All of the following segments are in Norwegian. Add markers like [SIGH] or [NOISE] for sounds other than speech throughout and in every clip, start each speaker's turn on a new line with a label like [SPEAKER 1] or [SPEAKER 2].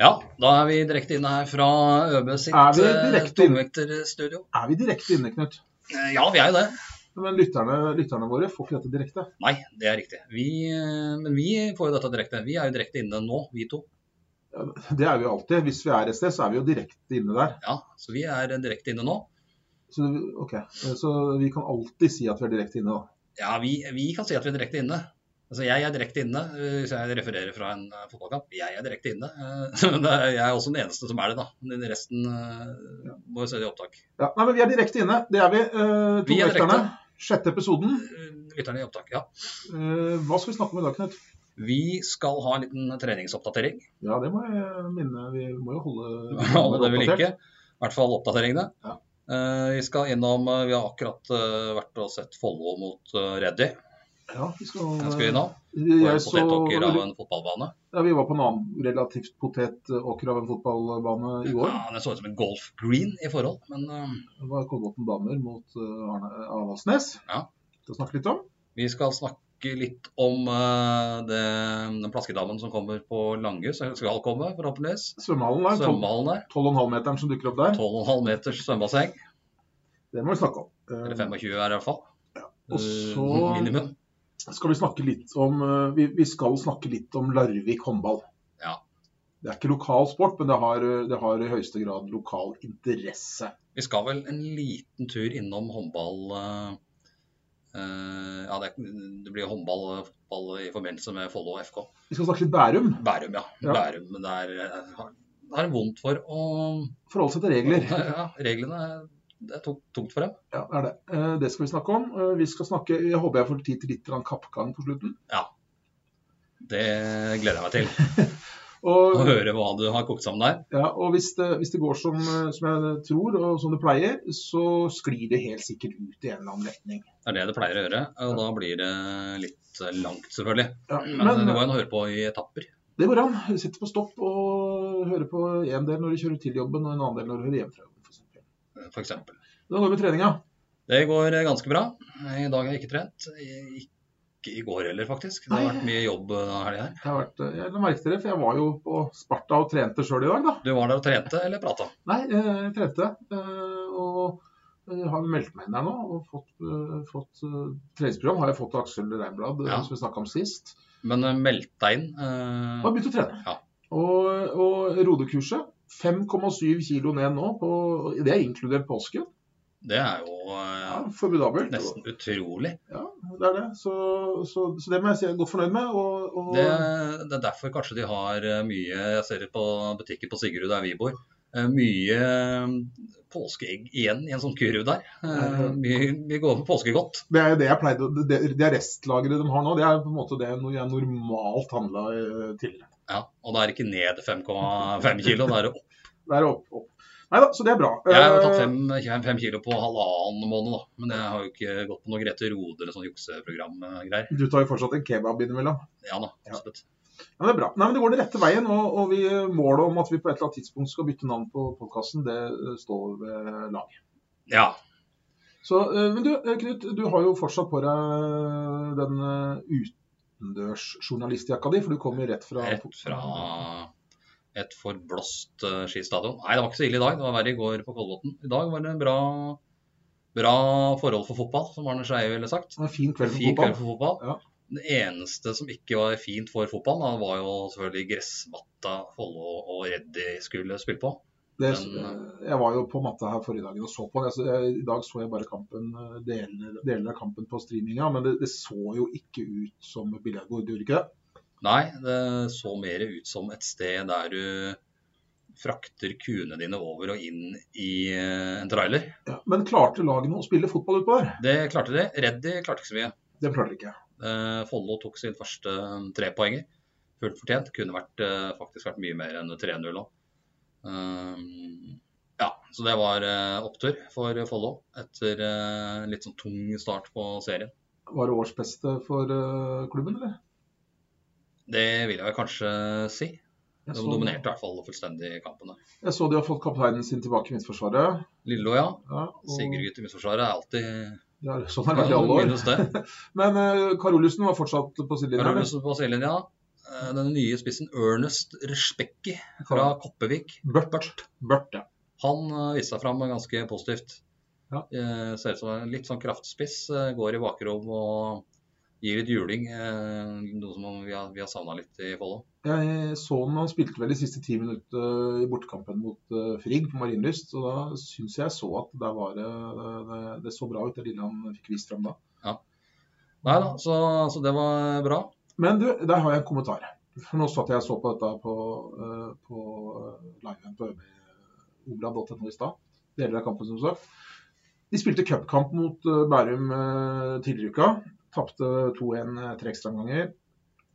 [SPEAKER 1] Ja, da er vi direkte inne her fra ØB sitt eh,
[SPEAKER 2] Er vi direkte inne?
[SPEAKER 1] tungvekterstudio.
[SPEAKER 2] Er vi direkte inne, Knut?
[SPEAKER 1] Eh, Ja, vi er jo det.
[SPEAKER 2] Men lytterne, lytterne våre får ikke dette direkte.
[SPEAKER 1] Nei, det er riktig. Vi, eh, men vi får jo dette direkte. Vi er jo direkte inne nå, vi to.
[SPEAKER 2] Det er vi jo alltid. Hvis vi er et sted, så er vi jo direkte inne der.
[SPEAKER 1] Ja, Så vi er eh, direkte inne nå.
[SPEAKER 2] Så, ok, så vi kan alltid si at vi er direkte inne, da.
[SPEAKER 1] Ja, vi, vi kan si at vi er direkte inne. Altså, Jeg er direkte inne, eh, hvis jeg refererer fra en eh, fotballkamp. Jeg er direkte inne. Eh, [LAUGHS] men det er- Jeg er også den eneste som er det, da. Men resten eh, må jo se det i opptak.
[SPEAKER 2] Ja, nei, men vi er direkte inne. Det er vi. Eh, to
[SPEAKER 1] Vi er
[SPEAKER 2] vekterne.
[SPEAKER 1] direkte.
[SPEAKER 2] Sjette episoden.
[SPEAKER 1] Eh, Lytterne i opptak, ja.
[SPEAKER 2] Eh, hva skal vi snakke om i dag, Knut?
[SPEAKER 1] Vi skal ha en liten treningsoppdatering.
[SPEAKER 2] Ja, det må jeg minne Vi må jo holde
[SPEAKER 1] [LAUGHS] Alle det vi
[SPEAKER 2] oppdatert.
[SPEAKER 1] liker. I hvert fall oppdateringene.
[SPEAKER 2] Ja.
[SPEAKER 1] Eh, vi skal innom eh, Vi har akkurat eh, vært og sett Follo mot uh, Reddy.
[SPEAKER 2] Ja, vi skal,
[SPEAKER 1] Den skal vi innom.
[SPEAKER 2] Jeg,
[SPEAKER 1] Det var en
[SPEAKER 2] så,
[SPEAKER 1] potetåker av en fotballbane.
[SPEAKER 2] ja, vi var på en annen relativt potetåker av en fotballbane i går.
[SPEAKER 1] Ja, det så ut som en golf green i forhold, men eh,
[SPEAKER 2] Det var Kolbotn damer mot eh, Arne Avaldsnes.
[SPEAKER 1] Ja.
[SPEAKER 2] Til å snakke litt om.
[SPEAKER 1] vi skal snakke litt om eh, det, den plaskedamen som kommer på Langhus. Eller skal komme, forhåpentligvis.
[SPEAKER 2] Svømmehallen der. tolv-
[SPEAKER 1] Svømmehallen der.
[SPEAKER 2] 12,5-meteren som dukker opp der.
[SPEAKER 1] 12,5 meters svømmebasseng.
[SPEAKER 2] Det må vi snakke om. Eh,
[SPEAKER 1] Eller 25 er det i hvert fall. Eh,
[SPEAKER 2] og så-
[SPEAKER 1] Minimum.
[SPEAKER 2] skal vi snakke litt om eh, Vi, vi skal snakke litt om Larvik håndball.
[SPEAKER 1] Ja.
[SPEAKER 2] Det er ikke lokal sport, men det har, eh, det har i høyeste grad lokal interesse.
[SPEAKER 1] Vi skal vel en liten tur innom håndball eh, eh, Ja, det, det blir håndball eh, fotball i forbindelse med Follo og FK.
[SPEAKER 2] Vi skal snakke litt Bærum.
[SPEAKER 1] Bærum, ja.
[SPEAKER 2] Ja.
[SPEAKER 1] Bærum men det er, eh, har- har en vondt for å
[SPEAKER 2] Forholde seg til regler.
[SPEAKER 1] Ja, reglene er- det er tok- tungt for dem.
[SPEAKER 2] Ja, det er det. Eh, Det skal vi snakke om. Eh, Vi skal snakke, Jeg håper jeg får tid til litt grann kappgang på slutten.
[SPEAKER 1] Det gleder jeg meg til. Å
[SPEAKER 2] Og,
[SPEAKER 1] høre hva du har kokt sammen der.
[SPEAKER 2] ja, og hvis, det, hvis det går som, eh, som jeg tror, og som det pleier, så sklir det helt sikkert ut i en eller annen retning.
[SPEAKER 1] Det er det det pleier å gjøre. Og da blir det litt langt, selvfølgelig.
[SPEAKER 2] Ja,
[SPEAKER 1] Mm, Men, det går an å høre på i etapper.
[SPEAKER 2] Det går an. Du sitter på stopp og hører på en del når du kjører til jobben, og en annen del når du hører hjem fra jobben. for eksempel.
[SPEAKER 1] F.eks.
[SPEAKER 2] Hvordan går det med treninga?
[SPEAKER 1] Det går eh, ganske bra. Eh, I dag har jeg ikke trent. Ikke i går heller, faktisk. Det har
[SPEAKER 2] Nei.
[SPEAKER 1] vært mye jobb denne helga her.
[SPEAKER 2] Jeg, har vært, eh, jeg la merke til det, for jeg var jo på Sparta og trente sjøl i dag, da.
[SPEAKER 1] Du var der og trente eller prata?
[SPEAKER 2] Nei, eh, jeg trente. eh, Og jeg har meldt meg inn der nå og fått, eh, fått eh, treningsprogram. Har jeg fått av Aksel Reinblad, eh,
[SPEAKER 1] Ja.
[SPEAKER 2] som vi snakka om sist.
[SPEAKER 1] Men eh, meldt deg inn. eh,
[SPEAKER 2] Og har begynt å trene.
[SPEAKER 1] Ja.
[SPEAKER 2] Og, og rodekurset 5,7 kilo ned nå, på, det er inkludert påsken.
[SPEAKER 1] det er jo eh,
[SPEAKER 2] Ja, formidabelt.
[SPEAKER 1] nesten utrolig.
[SPEAKER 2] Ja, det er det. Så, så, så det må jeg si jeg er godt fornøyd med. Og, og
[SPEAKER 1] Det, det er derfor kanskje de har eh, mye Jeg ser det på butikken på Sigrud der vi bor. eh, Mye eh, påskeegg igjen i en sånn kurv der. Eh, Mye, mye gode påskegodt.
[SPEAKER 2] det er jo det jeg pleide å- Det, det er restlageret de har nå. Det er på en måte det jeg normalt eh, handla tidligere.
[SPEAKER 1] Ja, og da er det ikke ned 5,5 kilo, da er det opp.
[SPEAKER 2] Det er opp, opp. Nei da, så det er bra.
[SPEAKER 1] Jeg har jo tatt
[SPEAKER 2] Eh,
[SPEAKER 1] fem, fem- fem kilo på halvannen måned, da. Men jeg har jo ikke gått på noe Grete Rode eller sånn jukseprogram-greier.
[SPEAKER 2] Eh, Du tar jo fortsatt en kebab innimellom.
[SPEAKER 1] Ja da,
[SPEAKER 2] Ja.
[SPEAKER 1] absolutt.
[SPEAKER 2] Ja, men det er bra. Nei, men Det går den rette veien. Og, og vi målet om at vi på et eller annet tidspunkt skal bytte navn på podkasten, det eh, står ved lag.
[SPEAKER 1] Ja.
[SPEAKER 2] Så, eh, men du, eh, Knut, du har jo fortsatt på deg den eh, utendørsjournalistjakka di, for du kommer rett fra
[SPEAKER 1] Rett fra et forblåst eh, skistadion. Nei, det var ikke så ille i dag. Det var verre i går på Kolbotn. I dag var det bra, bra forhold for fotball, som Arne Skeie ville sagt.
[SPEAKER 2] En fin kveld med
[SPEAKER 1] Fin
[SPEAKER 2] fotball.
[SPEAKER 1] kveld for fotball.
[SPEAKER 2] Ja.
[SPEAKER 1] Det eneste som ikke var fint for fotballen, da, var jo selvfølgelig gressmatta Follo og Reddy skulle spille på.
[SPEAKER 2] Det,
[SPEAKER 1] Men,
[SPEAKER 2] jeg var jo på matta her forrige dagen og så på det. Så jeg, I dag så jeg bare kampen, eh, deler, deler av kampen på streaminga, men det, det så jo ikke ut som billedbord, det gjorde ikke det?
[SPEAKER 1] Nei, det så mer ut som et sted der du frakter kuene dine over og inn i eh, en trailer.
[SPEAKER 2] Ja, men klarte lagene å spille fotball utpå der?
[SPEAKER 1] Det klarte de. Reddy klarte ikke så mye.
[SPEAKER 2] Det klarte de ikke.
[SPEAKER 1] Eh, Follo tok sin første trepoenger. Fullt fortjent. Kunne vært, eh, faktisk vært mye mer enn 3-0 òg. Eh, ja, så det var eh, opptur for Follo etter eh, litt sånn tung start på serien.
[SPEAKER 2] Var det årsbeste for eh, klubben, eller?
[SPEAKER 1] Det vil jeg vel kanskje si.
[SPEAKER 2] Jeg
[SPEAKER 1] De
[SPEAKER 2] så-
[SPEAKER 1] dominerte i hvert fall fullstendig kampen der.
[SPEAKER 2] Jeg så de har fått kapteinen sin tilbake i Midtforsvaret.
[SPEAKER 1] Lillo, ja.
[SPEAKER 2] Ja, og
[SPEAKER 1] Sigurd i Midtforsvaret er alltid
[SPEAKER 2] Ja, sånn har det vært i alle år. [LAUGHS]
[SPEAKER 1] minus det.
[SPEAKER 2] Men eh, Karoliussen var fortsatt på sidelinja. eller?
[SPEAKER 1] Karolussen på sidelinja. eh, den nye spissen Ernest Respecki fra Koppevik.
[SPEAKER 2] Børt. Børt, ja.
[SPEAKER 1] Han eh, viste seg fram ganske positivt.
[SPEAKER 2] Ja.
[SPEAKER 1] Eh, ser ut som en litt sånn kraftspiss. eh, går i bakrom og gir litt juling. eh, noe som vi har, vi har savna litt i Follo.
[SPEAKER 2] Jeg så han, han spilte vel de siste ti minuttene i bortekampen mot eh, Frigg på Marienlyst. Og da syns jeg så at der var det, det, det så bra ut, det lille han fikk vist fram da.
[SPEAKER 1] Nei da, så, så det var bra.
[SPEAKER 2] Men du, der har jeg en kommentar. For nå satt jeg og så på dette på, eh, på liven på eh, obla.no i stad. Deler av kampen, som sagt. De spilte cupkamp mot eh, Bærum eh, tidligere i uka. Tapte 2-1 etter ekstraomganger.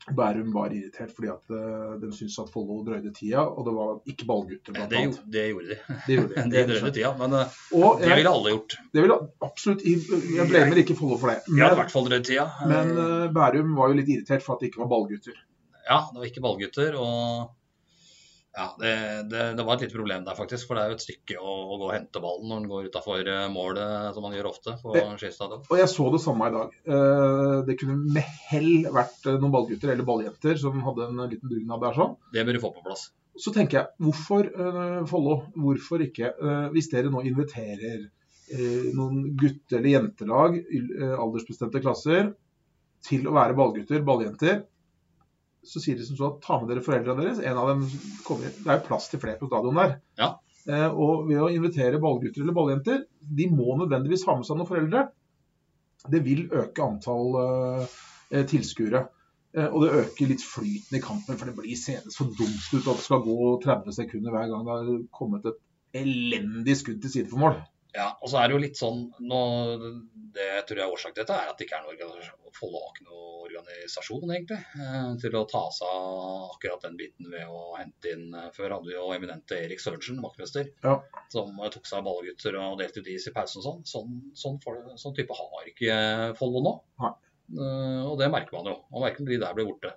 [SPEAKER 2] Bærum var irritert fordi at eh, de syntes at Follo drøyde tida, og det var ikke
[SPEAKER 1] Eh,
[SPEAKER 2] ballgutter, blant
[SPEAKER 1] Det,
[SPEAKER 2] annet.
[SPEAKER 1] gjo- det gjorde de.
[SPEAKER 2] Det gjorde
[SPEAKER 1] [LAUGHS] Det drøyde tida, men eh,
[SPEAKER 2] Og
[SPEAKER 1] det
[SPEAKER 2] jeg,
[SPEAKER 1] ville alle gjort.
[SPEAKER 2] det ville absolutt Jeg blamer ikke Follo for det.
[SPEAKER 1] Vi hadde i
[SPEAKER 2] Men,
[SPEAKER 1] hvert fall drøyd tida. Eh,
[SPEAKER 2] men eh, Bærum var jo litt irritert for at det ikke var ballgutter.
[SPEAKER 1] Ja, det var ikke ballgutter. Og ja, det, det, det var et lite problem der, faktisk. For det er jo et stykke å, å gå og hente ballen når den går utafor målet, som man gjør ofte på
[SPEAKER 2] Det-
[SPEAKER 1] skistadion.
[SPEAKER 2] Og jeg så det samme i dag. Eh, Det kunne med hell vært eh, noen ballgutter eller balljenter som hadde en liten dugnad der sånn.
[SPEAKER 1] Det bør de få på plass.
[SPEAKER 2] Så tenker jeg, hvorfor eh, Follo, hvorfor ikke? eh, Hvis dere nå inviterer eh, noen gutte- eller jentelag, i- eh, aldersbestemte klasser, til å være ballgutter, balljenter, så sier de som så at ta med dere foreldrene deres. En av dem kommer inn. Det er jo plass til flere på stadion der.
[SPEAKER 1] Ja.
[SPEAKER 2] Eh, Og ved å invitere ballgutter eller balljenter, de må nødvendigvis ha med seg noen foreldre. Det vil øke antall eh, tilskuere. Eh, Og det øker litt flyten i kampen, for det blir senest for dumt ut at det skal gå 30 sekunder hver gang det har kommet et elendig skudd til side for mål.
[SPEAKER 1] Ja, og så er det jo litt sånn nå, Det jeg tror jeg er årsaken til dette, er at det ikke er noen organisasjon, Follo har ikke noen organisasjon egentlig, eh, til å ta seg av akkurat den biten ved å hente inn eh, Før hadde vi jo eminente Erik Sørensen, vaktmester,
[SPEAKER 2] Ja.
[SPEAKER 1] som eh, tok seg av ballgutter og delte ut is i pausen og sånn. Sånn, sånn, får- sånn type har ikke eh, Follo nå.
[SPEAKER 2] Nei.
[SPEAKER 1] Eh, Og det merker man jo. Man merker de der ble borte.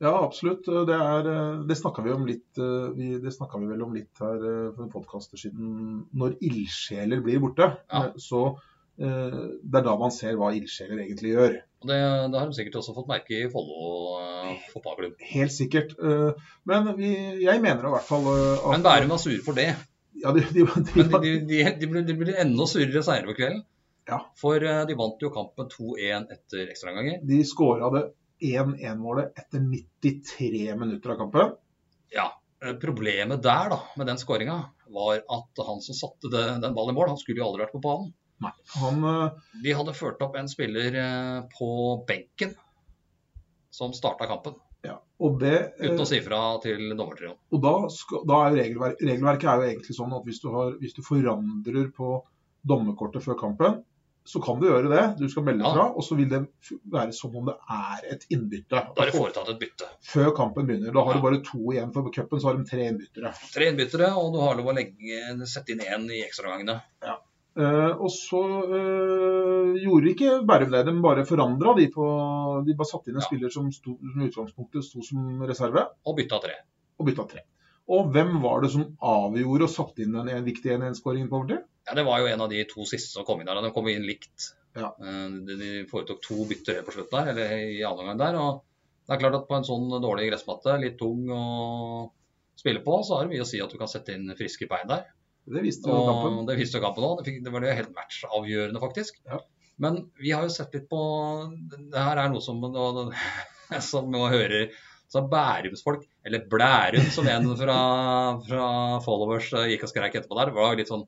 [SPEAKER 2] Ja, absolutt. Det, er, eh, det snakka vi om litt eh, vi, Det snakket vi vel om litt her eh, for en podkaster siden. Når ildsjeler blir borte,
[SPEAKER 1] Ja.
[SPEAKER 2] eh, så eh, Det er da man ser hva ildsjeler egentlig gjør.
[SPEAKER 1] Og det, det har de sikkert også fått merke i Follo eh, fotballklubb.
[SPEAKER 2] Helt sikkert. eh, Men vi, jeg mener i hvert fall eh, at
[SPEAKER 1] Men Bærum var sur for det.
[SPEAKER 2] Ja, de, de, de,
[SPEAKER 1] Men de, de, de, ble, de ble enda surere seinere på kvelden.
[SPEAKER 2] Ja.
[SPEAKER 1] For eh, de vant jo kampen 2-1 etter ekstraomganger.
[SPEAKER 2] de skåra det 1-1-målet etter 93 minutter av kampen.
[SPEAKER 1] Ja. eh, Problemet der da, med den skåringa var at han som satte det, den ballen i mål, han skulle jo aldri vært på banen.
[SPEAKER 2] Han eh,
[SPEAKER 1] De hadde ført opp en spiller eh, på benken som starta kampen,
[SPEAKER 2] Ja. Og det eh,
[SPEAKER 1] uten å si fra til dommertrioen.
[SPEAKER 2] Og da, skal, da er jo regelverk, regelverket er jo egentlig sånn at hvis du, har, hvis du forandrer på dommerkortet før kampen, så kan du gjøre det. Du skal melde
[SPEAKER 1] Ja.
[SPEAKER 2] fra, og så vil det f- være som om det er et innbytte.
[SPEAKER 1] Da er det foretatt et bytte.
[SPEAKER 2] Før kampen begynner. Da har
[SPEAKER 1] Ja.
[SPEAKER 2] du bare to igjen for cupen, så har de tre innbyttere.
[SPEAKER 1] Tre innbyttere, og du har lov å legge, sette inn én i ekstraomgangene.
[SPEAKER 2] Eh, og så eh, gjorde ikke Bærum det. De bare forandra de på De bare satte inn en
[SPEAKER 1] Ja.
[SPEAKER 2] spiller som, sto, som i utgangspunktet sto som reserve,
[SPEAKER 1] Og bytta tre.
[SPEAKER 2] og bytta tre. Og hvem var det som avgjorde og satte inn den en, viktig 1-1-skåringen på overtid?
[SPEAKER 1] Ja, Det var jo en av de to siste som kom inn der. og De kom inn likt.
[SPEAKER 2] Ja.
[SPEAKER 1] Eh, De de foretok to bytter helt på slutt der, eller i andre omgang der. og det er klart at På en sånn dårlig gressmatte, litt tung å spille på, så har det mye å si at du kan sette inn friske bein der.
[SPEAKER 2] Det viste jo kampen.
[SPEAKER 1] Og Det viste jo kampen òg. Det, fikk- det var det helt matchavgjørende, faktisk.
[SPEAKER 2] Ja.
[SPEAKER 1] Men vi har jo sett litt på Det her er noe som, [LAUGHS] som nå hører så Bærumsfolk, eller Blærum, som en fra, fra followers eh, gikk og skreik etterpå der, var litt sånn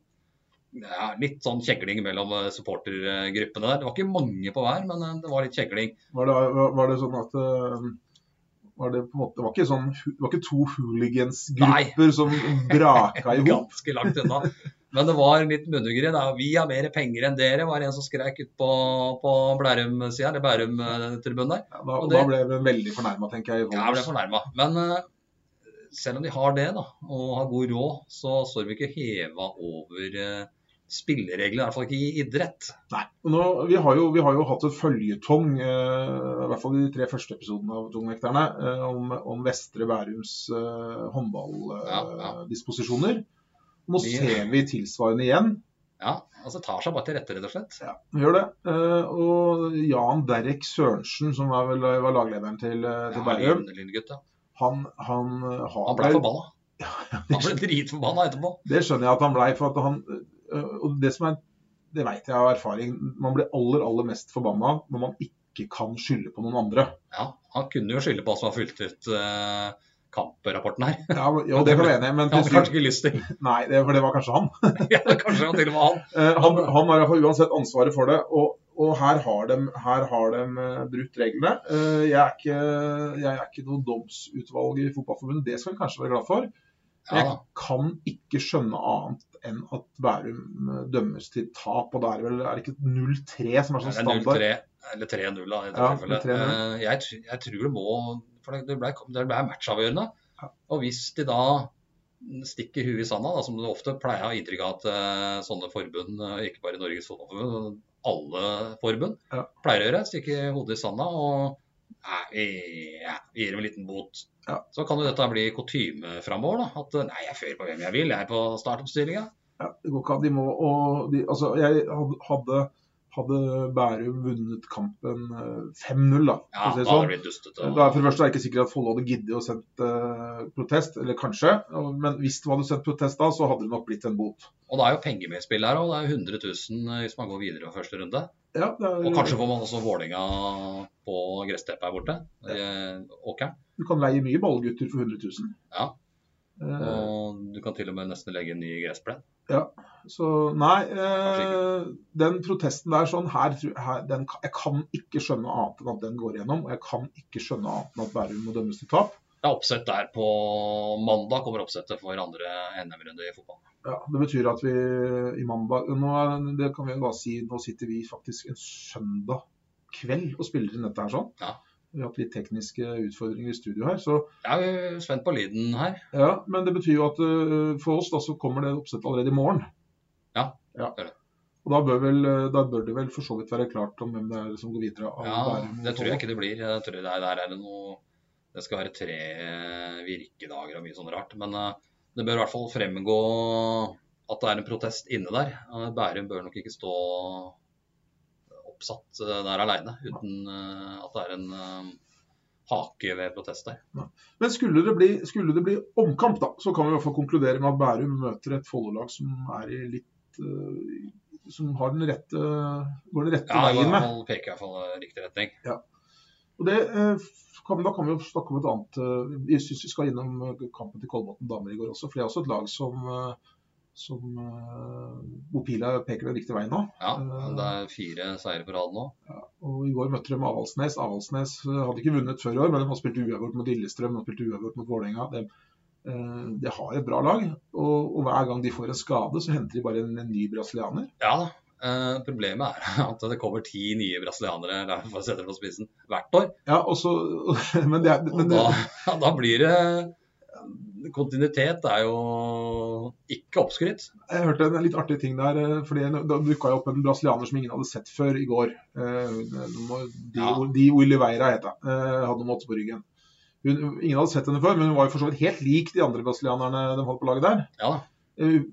[SPEAKER 1] ja, litt sånn kjegling mellom eh, supportergruppene der. Det var ikke mange på hver, men eh, det var litt kjegling.
[SPEAKER 2] Var det, var- var det sånn at eh, var det, på en måte, det, var ikke sånn, hu- det var ikke to hooligans-grupper som
[SPEAKER 1] [LAUGHS]
[SPEAKER 2] braka i hop?
[SPEAKER 1] ganske langt unna. Men det var litt munnhuggeri. da. Vi har mer penger enn dere, var det en som skreik ut på, på Blærum-sida, eller Bærum-tribunen der.
[SPEAKER 2] Ja, da,
[SPEAKER 1] Og
[SPEAKER 2] da
[SPEAKER 1] det-
[SPEAKER 2] ble vi veldig fornærma, tenker jeg. i
[SPEAKER 1] Ja, Jeg ble fornærma. Men eh, selv om de har det, da, og har god råd, så står vi ikke heva over eh, spillereglene. I hvert fall ikke i idrett.
[SPEAKER 2] Nei. Og Nå, vi, har jo, vi har jo hatt et føljetong, eh, i hvert fall i de tre første episodene av Tungvekterne, eh, om, om Vestre Bærums eh,
[SPEAKER 1] Ja, ja.
[SPEAKER 2] håndballdisposisjoner. Nå
[SPEAKER 1] Vi-
[SPEAKER 2] ser vi tilsvarende igjen.
[SPEAKER 1] Ja, altså tar seg bare til rette, rett og slett.
[SPEAKER 2] Ja, vi gjør det. Eh, og Jan Derek Sørensen, som var, vel, var laglederen til, eh, til
[SPEAKER 1] Ja,
[SPEAKER 2] Bergum,
[SPEAKER 1] lille- lille gutt, ja.
[SPEAKER 2] han, han eh, har
[SPEAKER 1] Han ble
[SPEAKER 2] vel-
[SPEAKER 1] forbanna. Han ble dritforbanna etterpå.
[SPEAKER 2] Det skjønner jeg at han blei. For at han, øh, og det som er, det veit jeg av erfaring, man blir aller, aller mest forbanna når man ikke kan skylde på noen andre.
[SPEAKER 1] Ja, han kunne jo skylde på oss som har fulgt ut eh, kamprapporten her.
[SPEAKER 2] Ja, men- jo, det kan du være enig i,
[SPEAKER 1] [LAUGHS]
[SPEAKER 2] men
[SPEAKER 1] Han hadde
[SPEAKER 2] til
[SPEAKER 1] kanskje
[SPEAKER 2] syvende
[SPEAKER 1] ikke lyst til.
[SPEAKER 2] Nei, det, for det var kanskje han.
[SPEAKER 1] Ja, det kanskje han til og med han.
[SPEAKER 2] Eh, han, han har i hvert fall uansett ansvaret for det. Og, og her har de, her har de eh, brutt reglene. Eh, jeg, er ikke, jeg er ikke noe domsutvalg i Fotballforbundet, det skal vi kanskje være glad for.
[SPEAKER 1] Ja,
[SPEAKER 2] Jeg
[SPEAKER 1] da.
[SPEAKER 2] kan ikke skjønne annet enn at Bærum eh, dømmes til tap. Og da er det vel er det ikke 0-3 som er sånn
[SPEAKER 1] Det er
[SPEAKER 2] standard?
[SPEAKER 1] 0-3, eller 3-0 da, i det
[SPEAKER 2] Ja,
[SPEAKER 1] tilfellet.
[SPEAKER 2] 3-0.
[SPEAKER 1] Eh, Jeg, tr- jeg tror det må For det- det ble, det ble matchavgjørende.
[SPEAKER 2] Ja.
[SPEAKER 1] Og hvis de da stikker huet i sanda, da, som det ofte pleier å ha inntrykk av at eh, sånne forbund, eh, ikke bare Norges fotballforbund, men alle forbund,
[SPEAKER 2] Ja.
[SPEAKER 1] pleier å gjøre, stikke hodet i sanda og Nei, vi- ja, vi gir dem en liten bot.
[SPEAKER 2] Ja.
[SPEAKER 1] Så kan jo dette bli kutyme framover. da, At eh, nei, jeg fører på hvem jeg vil, jeg er på startoppstillinga.
[SPEAKER 2] Ja, det går ikke an. De må og de, Altså, jeg had- hadde, hadde Bærum vunnet kampen eh, 5-0, da. for
[SPEAKER 1] Ja,
[SPEAKER 2] å
[SPEAKER 1] da
[SPEAKER 2] si det
[SPEAKER 1] hadde
[SPEAKER 2] sånn.
[SPEAKER 1] det blitt dustete.
[SPEAKER 2] Da er for det første er det ikke sikkert at Follo hadde giddet å sendt eh, protest, eller kanskje. og- Men hvis de hadde sendt protest da, så hadde det nok blitt en bot.
[SPEAKER 1] Og det er jo penger med i spill her òg. Det er jo 100 000 hvis man går videre fra første runde.
[SPEAKER 2] Ja, det er,
[SPEAKER 1] Og kanskje får man også Vålerenga på gressteppet her borte. eh, Åkeren.
[SPEAKER 2] Du kan leie mye ballgutter for 100 000.
[SPEAKER 1] Ja.
[SPEAKER 2] Eh,
[SPEAKER 1] Og du kan til og med nesten legge en ny gressplen.
[SPEAKER 2] så nei, eh,
[SPEAKER 1] Kanskje
[SPEAKER 2] den protesten der sånn her, tror- her den, kan- Jeg kan ikke skjønne annet enn at den går igjennom. Og jeg kan ikke skjønne annet enn at Bærum må dømmes til tap.
[SPEAKER 1] Det er oppsett der på mandag. Kommer oppsettet for andre NM-runde i fotball.
[SPEAKER 2] Ja, Det betyr at vi i mandag nå, er- det kan vi jo da si, nå sitter vi faktisk en søndag kveld og spiller inn dette her sånn.
[SPEAKER 1] Ja.
[SPEAKER 2] Vi har hatt litt tekniske utfordringer i studio her. så
[SPEAKER 1] Jeg er jo spent på lyden her.
[SPEAKER 2] ja, Men det betyr jo at øh, for oss da, så kommer det oppsettet allerede i morgen.
[SPEAKER 1] Ja,
[SPEAKER 2] ja.
[SPEAKER 1] det gjør det.
[SPEAKER 2] Og da bør, vel, eh, da bør det vel for så vidt være klart om hvem det er som går videre. av
[SPEAKER 1] Ja,
[SPEAKER 2] Bærum og
[SPEAKER 1] det tror
[SPEAKER 2] Follo.
[SPEAKER 1] jeg ikke det blir. Jeg tror det er, der er det noe Det skal være tre virkedager og mye sånn rart. Men eh, det bør i hvert fall fremgå at det er en protest inne der. Eh, Bærum bør nok ikke stå oppsatt eh, der aleine uten eh, at det er en eh, hake ved protest der.
[SPEAKER 2] Men skulle det, bli, skulle det bli omkamp, da, så kan vi i hvert fall konkludere med at Bærum møter et Follo-lag som er i litt øh, som har den rette, går den rette
[SPEAKER 1] Ja, i
[SPEAKER 2] veien
[SPEAKER 1] hvert
[SPEAKER 2] med.
[SPEAKER 1] fall peker i hvert fall i riktig retning.
[SPEAKER 2] Og det, eh, kan, da kan vi jo snakke om et annet eh, Vi syns vi skal innom eh, kampen til Kolbotn damer i går også. For det er også et lag som, eh, som eh, Mopila peker den riktige veien nå.
[SPEAKER 1] Ja, men Det er fire seire på rad nå.
[SPEAKER 2] Og I går møtte de Avaldsnes. Avaldsnes eh, hadde ikke vunnet før i år, men de har spilt uavgjort mot Lillestrøm de har spilt uavgjort mot Vålerenga. De, eh, de har et bra lag. Og, og hver gang de får en skade, så henter de bare en, en ny brasilianer.
[SPEAKER 1] Ja da. eh, problemet er [LAUGHS] at det kommer ti nye brasilianere der for å sette det på spissen hvert år.
[SPEAKER 2] Ja, og så, [LAUGHS] men det, er-
[SPEAKER 1] Og
[SPEAKER 2] men det,
[SPEAKER 1] da, [LAUGHS] ja, da blir det Kontinuitet er jo ikke oppskrytt.
[SPEAKER 2] Jeg hørte en litt artig ting der. eh, fordi Da dukka opp en brasilianer som ingen hadde sett før i går. Eh, hun- hun- De,
[SPEAKER 1] Ja.
[SPEAKER 2] de Oliveira het hun. Eh, Hadde noen måte på ryggen. Hun, ingen hadde sett henne før, men hun var jo for så vidt helt lik de andre brasilianerne de hadde på laget der.
[SPEAKER 1] Ja da.
[SPEAKER 2] Eh, Hun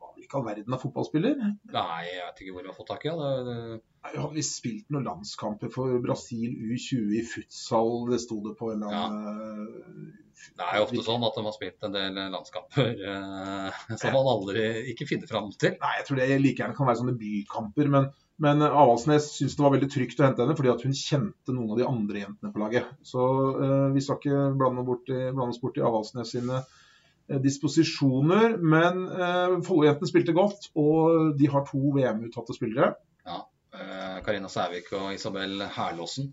[SPEAKER 2] var vel ikke all verden av fotballspiller?
[SPEAKER 1] Nei, jeg vet ikke hvor vi har fått tak i ja. det. det-
[SPEAKER 2] Nei, Hun hadde visst spilt noen landskamper for Brasil U20 i futsal, det sto det på en eller annen eh,
[SPEAKER 1] Det er jo ofte sånn at de har spilt en del landskamper eh, [LAUGHS] som man aldri ikke finner fram til.
[SPEAKER 2] Nei, jeg tror det like gjerne kan være sånne bykamper. Men, men eh, Avaldsnes syns det var veldig trygt å hente henne, fordi at hun kjente noen av de andre jentene på laget. Så eh, vi skal ikke blande, bort i, blande oss bort i Avaldsnes sine eh, disposisjoner. Men eh, Follo-jentene spilte godt, og de har to VM-uttatte spillere.
[SPEAKER 1] Eh, Karina Sævik og Isabel Herlåsen.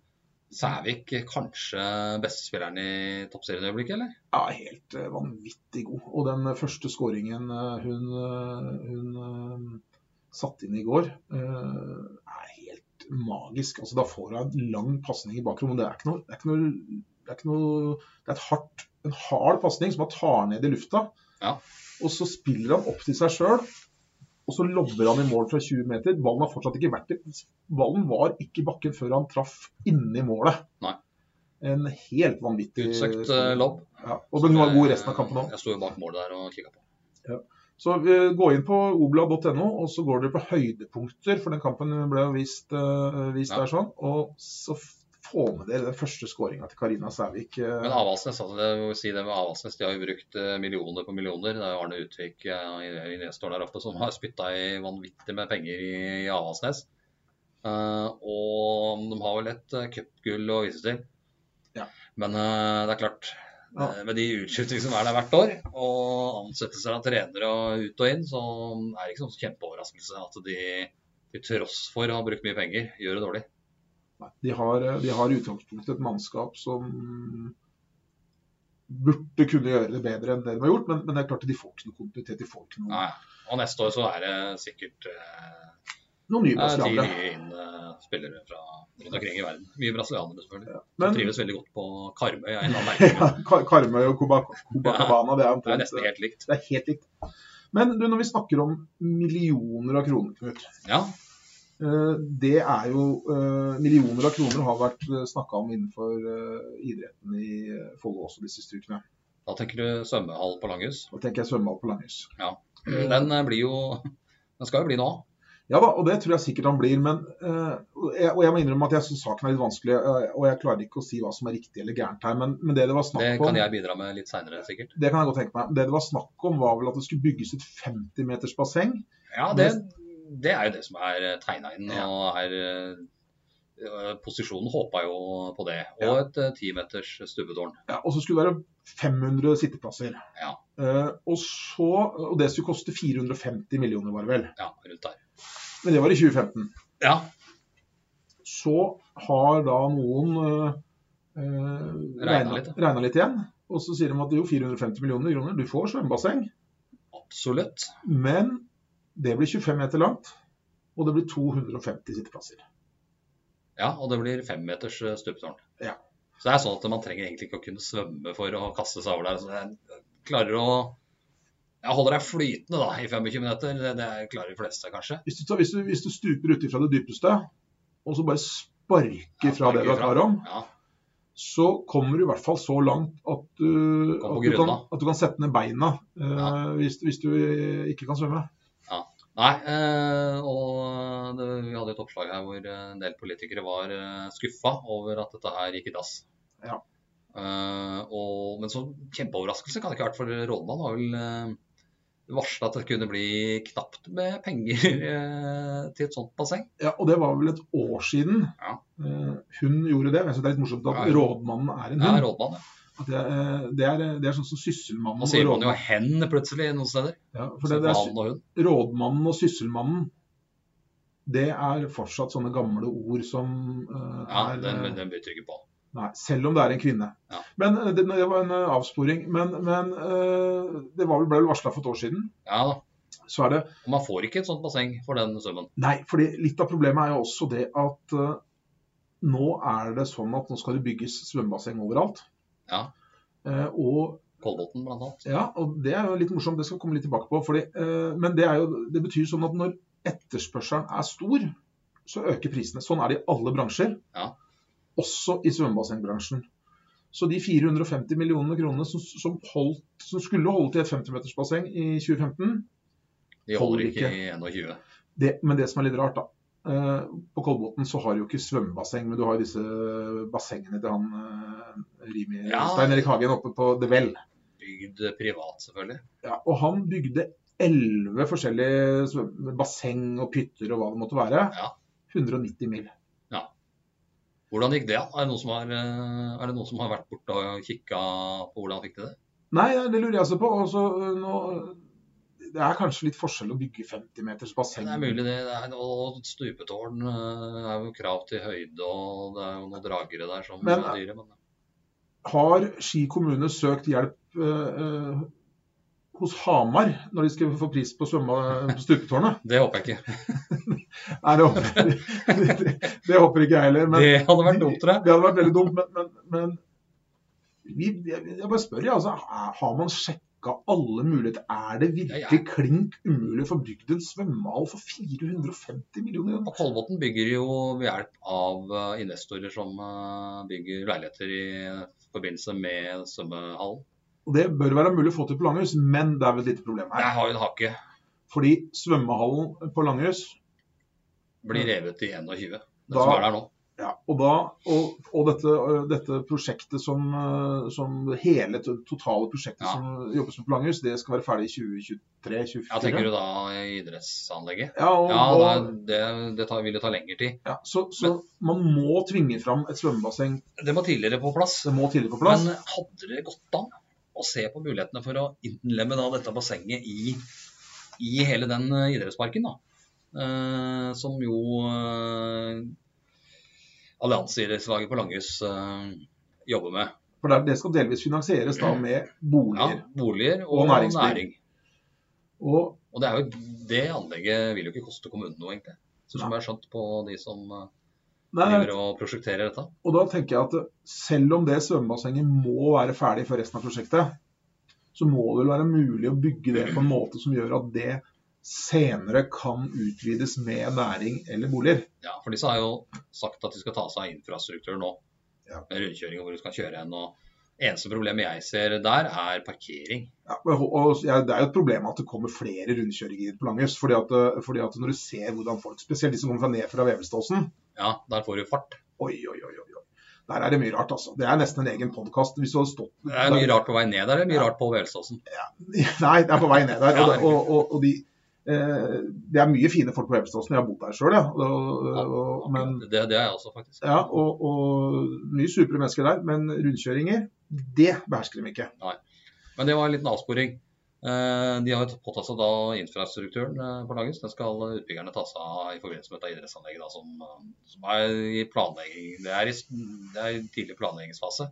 [SPEAKER 1] Sævik kanskje beste spilleren i toppserien i øyeblikket, eller?
[SPEAKER 2] Ja, helt eh, vanvittig god. Og den eh, første skåringen eh, hun, eh, hun eh, satte inn i går, eh, er helt magisk. Altså, da får hun en lang pasning i bakrommet. Det er ikke noe, det er ikke noe, det er ikke noe, det er et hardt, en hard pasning som han tar ned i lufta.
[SPEAKER 1] Ja.
[SPEAKER 2] Og så spiller han opp til seg sjøl. Og så lobber han i mål fra 20 meter. Ballen har fortsatt ikke vært i Ballen var ikke i bakken før han traff inni målet.
[SPEAKER 1] Nei.
[SPEAKER 2] En helt vanvittig
[SPEAKER 1] Utsøkt
[SPEAKER 2] skåring.
[SPEAKER 1] eh, lobb.
[SPEAKER 2] Ja, og men hun var god resten av kampen òg.
[SPEAKER 1] Jeg sto jo bak målet der og kikka på.
[SPEAKER 2] Så eh, gå inn på obla.no, og så går dere på høydepunkter, for den kampen ble jo vist, eh, vist
[SPEAKER 1] Ja.
[SPEAKER 2] der sånn. Og så f- få med dere den første skåringa til Karina Sævik. eh,
[SPEAKER 1] Men Avaldsnes, altså det, må vi si det med Avaldsnes, de har jo brukt eh, millioner på millioner. Det er jo Arne Utvik eh, i, i Nestor der oppe som har spytta i vanvittig med penger i, i Avaldsnes. Eh, og de har vel et uh, cupgull å vise til.
[SPEAKER 2] Ja.
[SPEAKER 1] Men eh, det er klart,
[SPEAKER 2] Ja.
[SPEAKER 1] eh, med de utskiftingene som er der hvert år, og ansettelser av trenere og ut og inn, så er det ikke sånn kjempeoverraskelse at de til tross for å ha brukt mye penger, gjør det dårlig.
[SPEAKER 2] Nei, De har, eh, de har i utgangspunktet et mannskap som burde kunne gjøre det bedre enn det de har gjort, men, men det er klart at de får ikke noe kontinuitet. De får ikke noe,
[SPEAKER 1] Nei. Og neste år så er det sikkert eh,
[SPEAKER 2] noen nye
[SPEAKER 1] Det er ti
[SPEAKER 2] brasilianere.
[SPEAKER 1] nye inn eh, spillere fra rundt omkring i verden. Mye brasilianere, selvfølgelig. Som
[SPEAKER 2] Men
[SPEAKER 1] trives veldig godt på Karmøy. er en av merkene.
[SPEAKER 2] [LAUGHS] ja, Kar- Karmøy og Cobacabana, det er
[SPEAKER 1] Det er
[SPEAKER 2] omtrent
[SPEAKER 1] nesten helt likt.
[SPEAKER 2] det er helt likt. Men du, når vi snakker om millioner av kroner, Knut.
[SPEAKER 1] Ja,
[SPEAKER 2] eh, Det er jo eh, Millioner av kroner har vært snakka om innenfor eh, idretten i eh, Follo også de siste ukene.
[SPEAKER 1] da tenker du svømmehall på Langhus.
[SPEAKER 2] Da tenker jeg svømmehall på Langhus. Mm.
[SPEAKER 1] Den eh, blir jo Den skal jo bli nå.
[SPEAKER 2] Ja da, og det tror jeg sikkert han blir. Men, eh, og jeg, og jeg må innrømme at jeg syns saken er litt vanskelig. eh, og jeg klarer ikke å si hva som er riktig eller gærent her. Men, men det det var snakk
[SPEAKER 1] Det
[SPEAKER 2] om
[SPEAKER 1] kan jeg bidra med litt seinere, sikkert.
[SPEAKER 2] Det kan jeg godt tenke meg. Det det var snakk om, var vel at det skulle bygges et 50 meters basseng.
[SPEAKER 1] Ja, det, det er jo det som er eh, tegna inn.
[SPEAKER 2] Ja.
[SPEAKER 1] Og er, eh, posisjonen håpa jo på det. Og
[SPEAKER 2] Ja.
[SPEAKER 1] et eh, timeters stubbetårn.
[SPEAKER 2] Ja, og så skulle det være 500 sitteplasser.
[SPEAKER 1] Ja.
[SPEAKER 2] Eh, og, så, og det skulle koste 450 millioner, var det vel.
[SPEAKER 1] Ja, rundt der.
[SPEAKER 2] Men det var i 2015.
[SPEAKER 1] Ja,
[SPEAKER 2] Så har da noen eh, eh,
[SPEAKER 1] Regnet
[SPEAKER 2] regnet-
[SPEAKER 1] litt,
[SPEAKER 2] regnet litt igjen. Og så sier de at jo, 450 millioner kroner, du får svømmebasseng.
[SPEAKER 1] absolutt.
[SPEAKER 2] Men det blir 25 meter langt, og det blir 250 sitteplasser.
[SPEAKER 1] Ja, og det blir femmeters eh, stupetårn.
[SPEAKER 2] Ja.
[SPEAKER 1] Så det er sånn at man trenger egentlig ikke å kunne svømme for å kaste seg over der. Så jeg klarer å Jeg holder deg flytende da, i 25 minutter. Det, det klarer de fleste, kanskje.
[SPEAKER 2] Hvis du, tar- hvis du, hvis du stuper uti fra det dypeste, og så bare sparker fra det du
[SPEAKER 1] Ja,
[SPEAKER 2] er klar om,
[SPEAKER 1] Ja,
[SPEAKER 2] så kommer du i hvert fall så langt at du,
[SPEAKER 1] Kom på
[SPEAKER 2] at du, kan,
[SPEAKER 1] grunna.
[SPEAKER 2] at du kan sette ned beina eh,
[SPEAKER 1] Ja.
[SPEAKER 2] hvis, hvis du ikke kan svømme.
[SPEAKER 1] Nei, eh, og det, vi hadde et oppslag her hvor eh, en del politikere var eh, skuffa over at dette her gikk i dass.
[SPEAKER 2] Ja.
[SPEAKER 1] Eh, og, men så kjempeoverraskelse kan det ikke ha vært, for rådmannen har vel eh, varsla at det kunne bli knapt med penger [LAUGHS] eh, til et sånt basseng.
[SPEAKER 2] Ja, og det var vel et år siden
[SPEAKER 1] Ja.
[SPEAKER 2] eh, hun gjorde det. Jeg synes det er litt morsomt at
[SPEAKER 1] Ja, ja.
[SPEAKER 2] rådmannen er en
[SPEAKER 1] Det er
[SPEAKER 2] hund.
[SPEAKER 1] rådmann, ja.
[SPEAKER 2] At det, er- det, er, det er sånn som sysselmannen
[SPEAKER 1] Nå sier
[SPEAKER 2] og
[SPEAKER 1] man jo
[SPEAKER 2] rådmannen.
[SPEAKER 1] hen plutselig noen steder.
[SPEAKER 2] Ja, for
[SPEAKER 1] Så
[SPEAKER 2] det, det er,
[SPEAKER 1] han og hun.
[SPEAKER 2] sy- rådmannen og sysselmannen, det er fortsatt sånne gamle ord som eh,
[SPEAKER 1] Ja,
[SPEAKER 2] er
[SPEAKER 1] den,
[SPEAKER 2] eh,
[SPEAKER 1] den bytter ikke på.
[SPEAKER 2] Nei, selv om det er en kvinne.
[SPEAKER 1] Ja.
[SPEAKER 2] Men eh, det, det var en eh, avsporing. Men, men eh, det var vel, ble vel varsla for et år siden.
[SPEAKER 1] Ja da.
[SPEAKER 2] Så er det
[SPEAKER 1] Og man får ikke et sånt basseng for den summen.
[SPEAKER 2] Nei, fordi litt av problemet er jo også det at eh, nå er det sånn at nå skal det bygges svømmebasseng overalt.
[SPEAKER 1] Ja.
[SPEAKER 2] Eh, og,
[SPEAKER 1] Kolbotn blant annet.
[SPEAKER 2] ja, og det er jo litt morsomt, det skal vi komme litt tilbake på. Fordi, eh, men det, er jo, det betyr sånn at når etterspørselen er stor, så øker prisene. Sånn er det i alle bransjer,
[SPEAKER 1] Ja.
[SPEAKER 2] også i svømmebassengbransjen. Så de 450 millionene kronene som, som, holdt, som skulle holde til et 50-metersbasseng i 2015,
[SPEAKER 1] De
[SPEAKER 2] Holder
[SPEAKER 1] holder ikke
[SPEAKER 2] ikke.
[SPEAKER 1] i 21.
[SPEAKER 2] det, men det som er litt rart, da. eh, På Kolbotn så har du jo ikke svømmebasseng, men du har jo disse bassengene til han eh, Rimi
[SPEAKER 1] Ja.
[SPEAKER 2] Stein Erik Hagen oppe på The Well.
[SPEAKER 1] Bygd privat, selvfølgelig.
[SPEAKER 2] Ja, og han bygde elleve forskjellige svøm- basseng og pytter og hva det måtte være.
[SPEAKER 1] Ja.
[SPEAKER 2] 190 mil.
[SPEAKER 1] Hvordan gikk det? da? Er det noen som har, eh, er det noen som har vært borte og kikka på hvordan han fikk til det?
[SPEAKER 2] Nei, det lurer jeg også på. Og så, eh, nå, det er kanskje litt forskjell å bygge 50 meters basseng.
[SPEAKER 1] Det er mulig, det. det er, og stupetårn eh, er jo krav til høyde, og det er jo noen dragere der som
[SPEAKER 2] Men-
[SPEAKER 1] er dyre. Men
[SPEAKER 2] Har Ski kommune søkt hjelp eh, eh, hos Hamar når de skal få pris på, svømme- eh, på stupetårnet?
[SPEAKER 1] det håper jeg ikke.
[SPEAKER 2] Nei, det håper, det, det håper ikke jeg heller. Men
[SPEAKER 1] det hadde vært dumt, tror jeg.
[SPEAKER 2] det hadde vært veldig dumt. Men, men, men vi, jeg, jeg bare spør, jeg. Altså, er- har man sjekka alle muligheter? Er det
[SPEAKER 1] Ja,
[SPEAKER 2] virkelig
[SPEAKER 1] ja.
[SPEAKER 2] klink umulig å få bygd en svømmehall for 450 millioner?
[SPEAKER 1] Og Kolbotn bygger jo ved hjelp av eh, investorer som eh, bygger leiligheter i forbindelse med svømmehallen.
[SPEAKER 2] Og Det bør være mulig å få til på Langhus, men det er vel et lite problem her.
[SPEAKER 1] Jeg har jo en hake.
[SPEAKER 2] Fordi svømmehallen på Langhus
[SPEAKER 1] Blir revet i 21. Den
[SPEAKER 2] Da-
[SPEAKER 1] som er der nå.
[SPEAKER 2] ja, og, da, og, og dette, øh, dette prosjektet som, øh, som hele to- totale prosjektet
[SPEAKER 1] Ja.
[SPEAKER 2] som jobbes med på Langhus, det skal være ferdig i 2023-2024.
[SPEAKER 1] Ja, tenker du da i idrettsanlegget?
[SPEAKER 2] Ja, og,
[SPEAKER 1] Ja, da,
[SPEAKER 2] og,
[SPEAKER 1] det, det tar, vil jo ta lengre tid.
[SPEAKER 2] ja, så, så man må tvinge fram et svømmebasseng.
[SPEAKER 1] Det må tidligere på plass.
[SPEAKER 2] Det må tidlig på plass.
[SPEAKER 1] Men hadde det gått an å se på mulighetene for å innlemme da dette bassenget i, i hele den eh, idrettsparken, da? Eh, som jo eh, allianseidrettslaget på Langhus eh, jobber med.
[SPEAKER 2] For det, det skal delvis finansieres da med
[SPEAKER 1] Ja,
[SPEAKER 2] boliger.
[SPEAKER 1] boliger og,
[SPEAKER 2] Og næringsliv.
[SPEAKER 1] næring.
[SPEAKER 2] Og
[SPEAKER 1] Og det, er jo, det anlegget vil jo ikke koste kommunen noe, egentlig. Så som
[SPEAKER 2] Nei.
[SPEAKER 1] jeg har skjønt på de som eh,
[SPEAKER 2] Nei,
[SPEAKER 1] driver og prosjekterer dette.
[SPEAKER 2] Og da tenker jeg at selv om det svømmebassenget må være ferdig før resten av prosjektet, så må det vel være mulig å bygge det på en måte som gjør at det senere kan utvides med næring eller boliger.
[SPEAKER 1] Ja, for disse har jo sagt at de skal ta seg av infrastrukturen nå.
[SPEAKER 2] Ja.
[SPEAKER 1] Med rundkjøring og hvor du skal kjøre hen. Og eneste problemet jeg ser der, er parkering.
[SPEAKER 2] Ja, og og jeg- Det er jo et problem at det kommer flere rundkjøringer på Langhus. Fordi at, fordi at når du ser hvordan folk, spesielt de som kommer fra ned fra Vevelståsen
[SPEAKER 1] Ja, der får du fart.
[SPEAKER 2] Oi, oi, oi. oi, oi. Der er det mye rart, altså. Det er nesten en egen podkast. Hvis du hadde stått
[SPEAKER 1] Det er mye rart på vei ned der, det er mye rart på Velsåsen.
[SPEAKER 2] [LAUGHS] Nei, det er på vei ned der.
[SPEAKER 1] Ja,
[SPEAKER 2] Og,
[SPEAKER 1] herregud.
[SPEAKER 2] og, og, og de, eh, det er mye fine folk på Vebstadsen. Jeg har bodd der sjøl, ja. Og, og, men,
[SPEAKER 1] Det, det er jeg også, faktisk.
[SPEAKER 2] ja og, og mye supre mennesker der. Men rundkjøringer, det behersker de ikke.
[SPEAKER 1] Men det var en liten avsporing. Eh, De har jo påtatt seg da infrastrukturen eh, på Langhus. Den skal utbyggerne ta seg av i forbindelse med dette idrettsanlegget da, som, eh, som er i planlegging. Det er i, s- det er i tidlig planleggingsfase.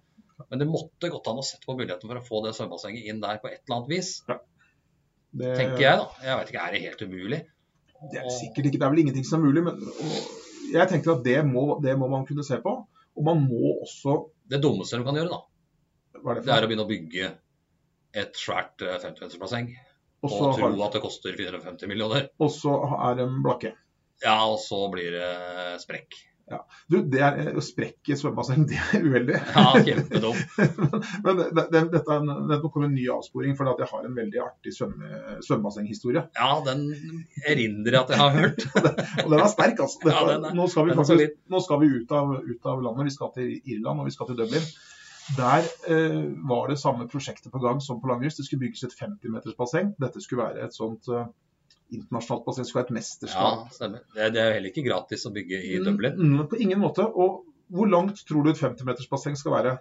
[SPEAKER 1] Men det måtte gått an å sette på muligheten for å få det svømmebassenget inn der på et eller annet vis.
[SPEAKER 2] Det,
[SPEAKER 1] tenker jeg da. Jeg vet ikke, er det helt umulig?
[SPEAKER 2] Det er sikkert ikke, det er vel ingenting som er mulig, men og jeg tenker at det må, det må man kunne se på. Og man må også
[SPEAKER 1] Det dummeste du kan gjøre, da,
[SPEAKER 2] hva er det
[SPEAKER 1] det
[SPEAKER 2] for
[SPEAKER 1] er å begynne å bygge et svært eh, 50-metersbasseng
[SPEAKER 2] Og
[SPEAKER 1] og
[SPEAKER 2] så
[SPEAKER 1] tro
[SPEAKER 2] har-
[SPEAKER 1] at det koster 450 millioner.
[SPEAKER 2] og så er de blakke.
[SPEAKER 1] Ja, og så blir det eh,
[SPEAKER 2] [LAUGHS]
[SPEAKER 1] sprekk.
[SPEAKER 2] Du, det er eh, å sprekke svømmebasseng, [LAUGHS] det er uheldig.
[SPEAKER 1] Ja, kjempedum.
[SPEAKER 2] Men det, det, dette er en, det kommer en ny avsporing, for at jeg har en veldig artig svømme, svømmebassenghistorie.
[SPEAKER 1] Ja, den erindrer jeg at jeg har hørt.
[SPEAKER 2] Og den er sterk, altså. Dette,
[SPEAKER 1] [LAUGHS] Ja, den er-
[SPEAKER 2] nå skal vi,
[SPEAKER 1] den er solid.
[SPEAKER 2] faktisk, nå skal vi ut, av, ut av landet. Vi skal til Irland og vi skal til Dublin. Der eh, var det samme prosjektet på gang som på Langhus. Det skulle bygges et 50-metersbasseng. Dette skulle være et sånt eh, internasjonalt basseng. Det skulle være
[SPEAKER 1] Ja,
[SPEAKER 2] et mesterskap.
[SPEAKER 1] stemmer. Det, det er jo heller ikke gratis å bygge i Dublin.
[SPEAKER 2] Mm, på ingen måte. Og hvor langt tror du et 50-metersbasseng skal være?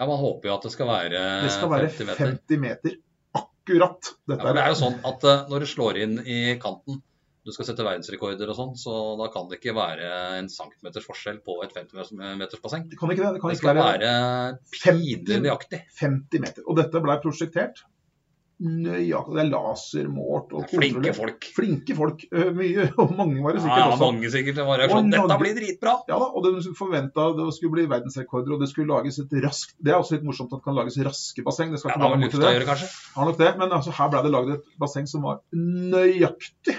[SPEAKER 1] Ja, Man håper jo at det skal være
[SPEAKER 2] Det skal være
[SPEAKER 1] 50 meter.
[SPEAKER 2] 50 meter akkurat.
[SPEAKER 1] Ja, for det er jo sånn at eh, når du slår inn i kanten, du skal sette verdensrekorder og sånn, så da kan det ikke være en centimeters forskjell på et 50-metersbasseng.
[SPEAKER 2] Det kan ikke det. Det kan
[SPEAKER 1] Det
[SPEAKER 2] ikke
[SPEAKER 1] skal
[SPEAKER 2] være
[SPEAKER 1] være
[SPEAKER 2] 50
[SPEAKER 1] pinlig nøyaktig.
[SPEAKER 2] 50 meter. Og dette ble prosjektert nøyaktig. Det er lasermålt og
[SPEAKER 1] Flinke
[SPEAKER 2] kontrollert.
[SPEAKER 1] folk.
[SPEAKER 2] Flinke folk. [LAUGHS] øh, Mye, og mange var
[SPEAKER 1] Ja,
[SPEAKER 2] det sikkert også.
[SPEAKER 1] mange sikkert som var
[SPEAKER 2] Og
[SPEAKER 1] sånn, Dette
[SPEAKER 2] Norge-
[SPEAKER 1] blir dritbra!
[SPEAKER 2] Ja da, og de forventa det skulle bli verdensrekorder, og det skulle lages et raskt Det er også litt morsomt at det kan lages raske basseng. Det skal
[SPEAKER 1] Ja,
[SPEAKER 2] ikke
[SPEAKER 1] det har
[SPEAKER 2] være
[SPEAKER 1] vel
[SPEAKER 2] noe til
[SPEAKER 1] lufta å
[SPEAKER 2] det.
[SPEAKER 1] gjøre, kanskje.
[SPEAKER 2] Har nok det. Men altså, her ble det lagd et basseng som var nøyaktig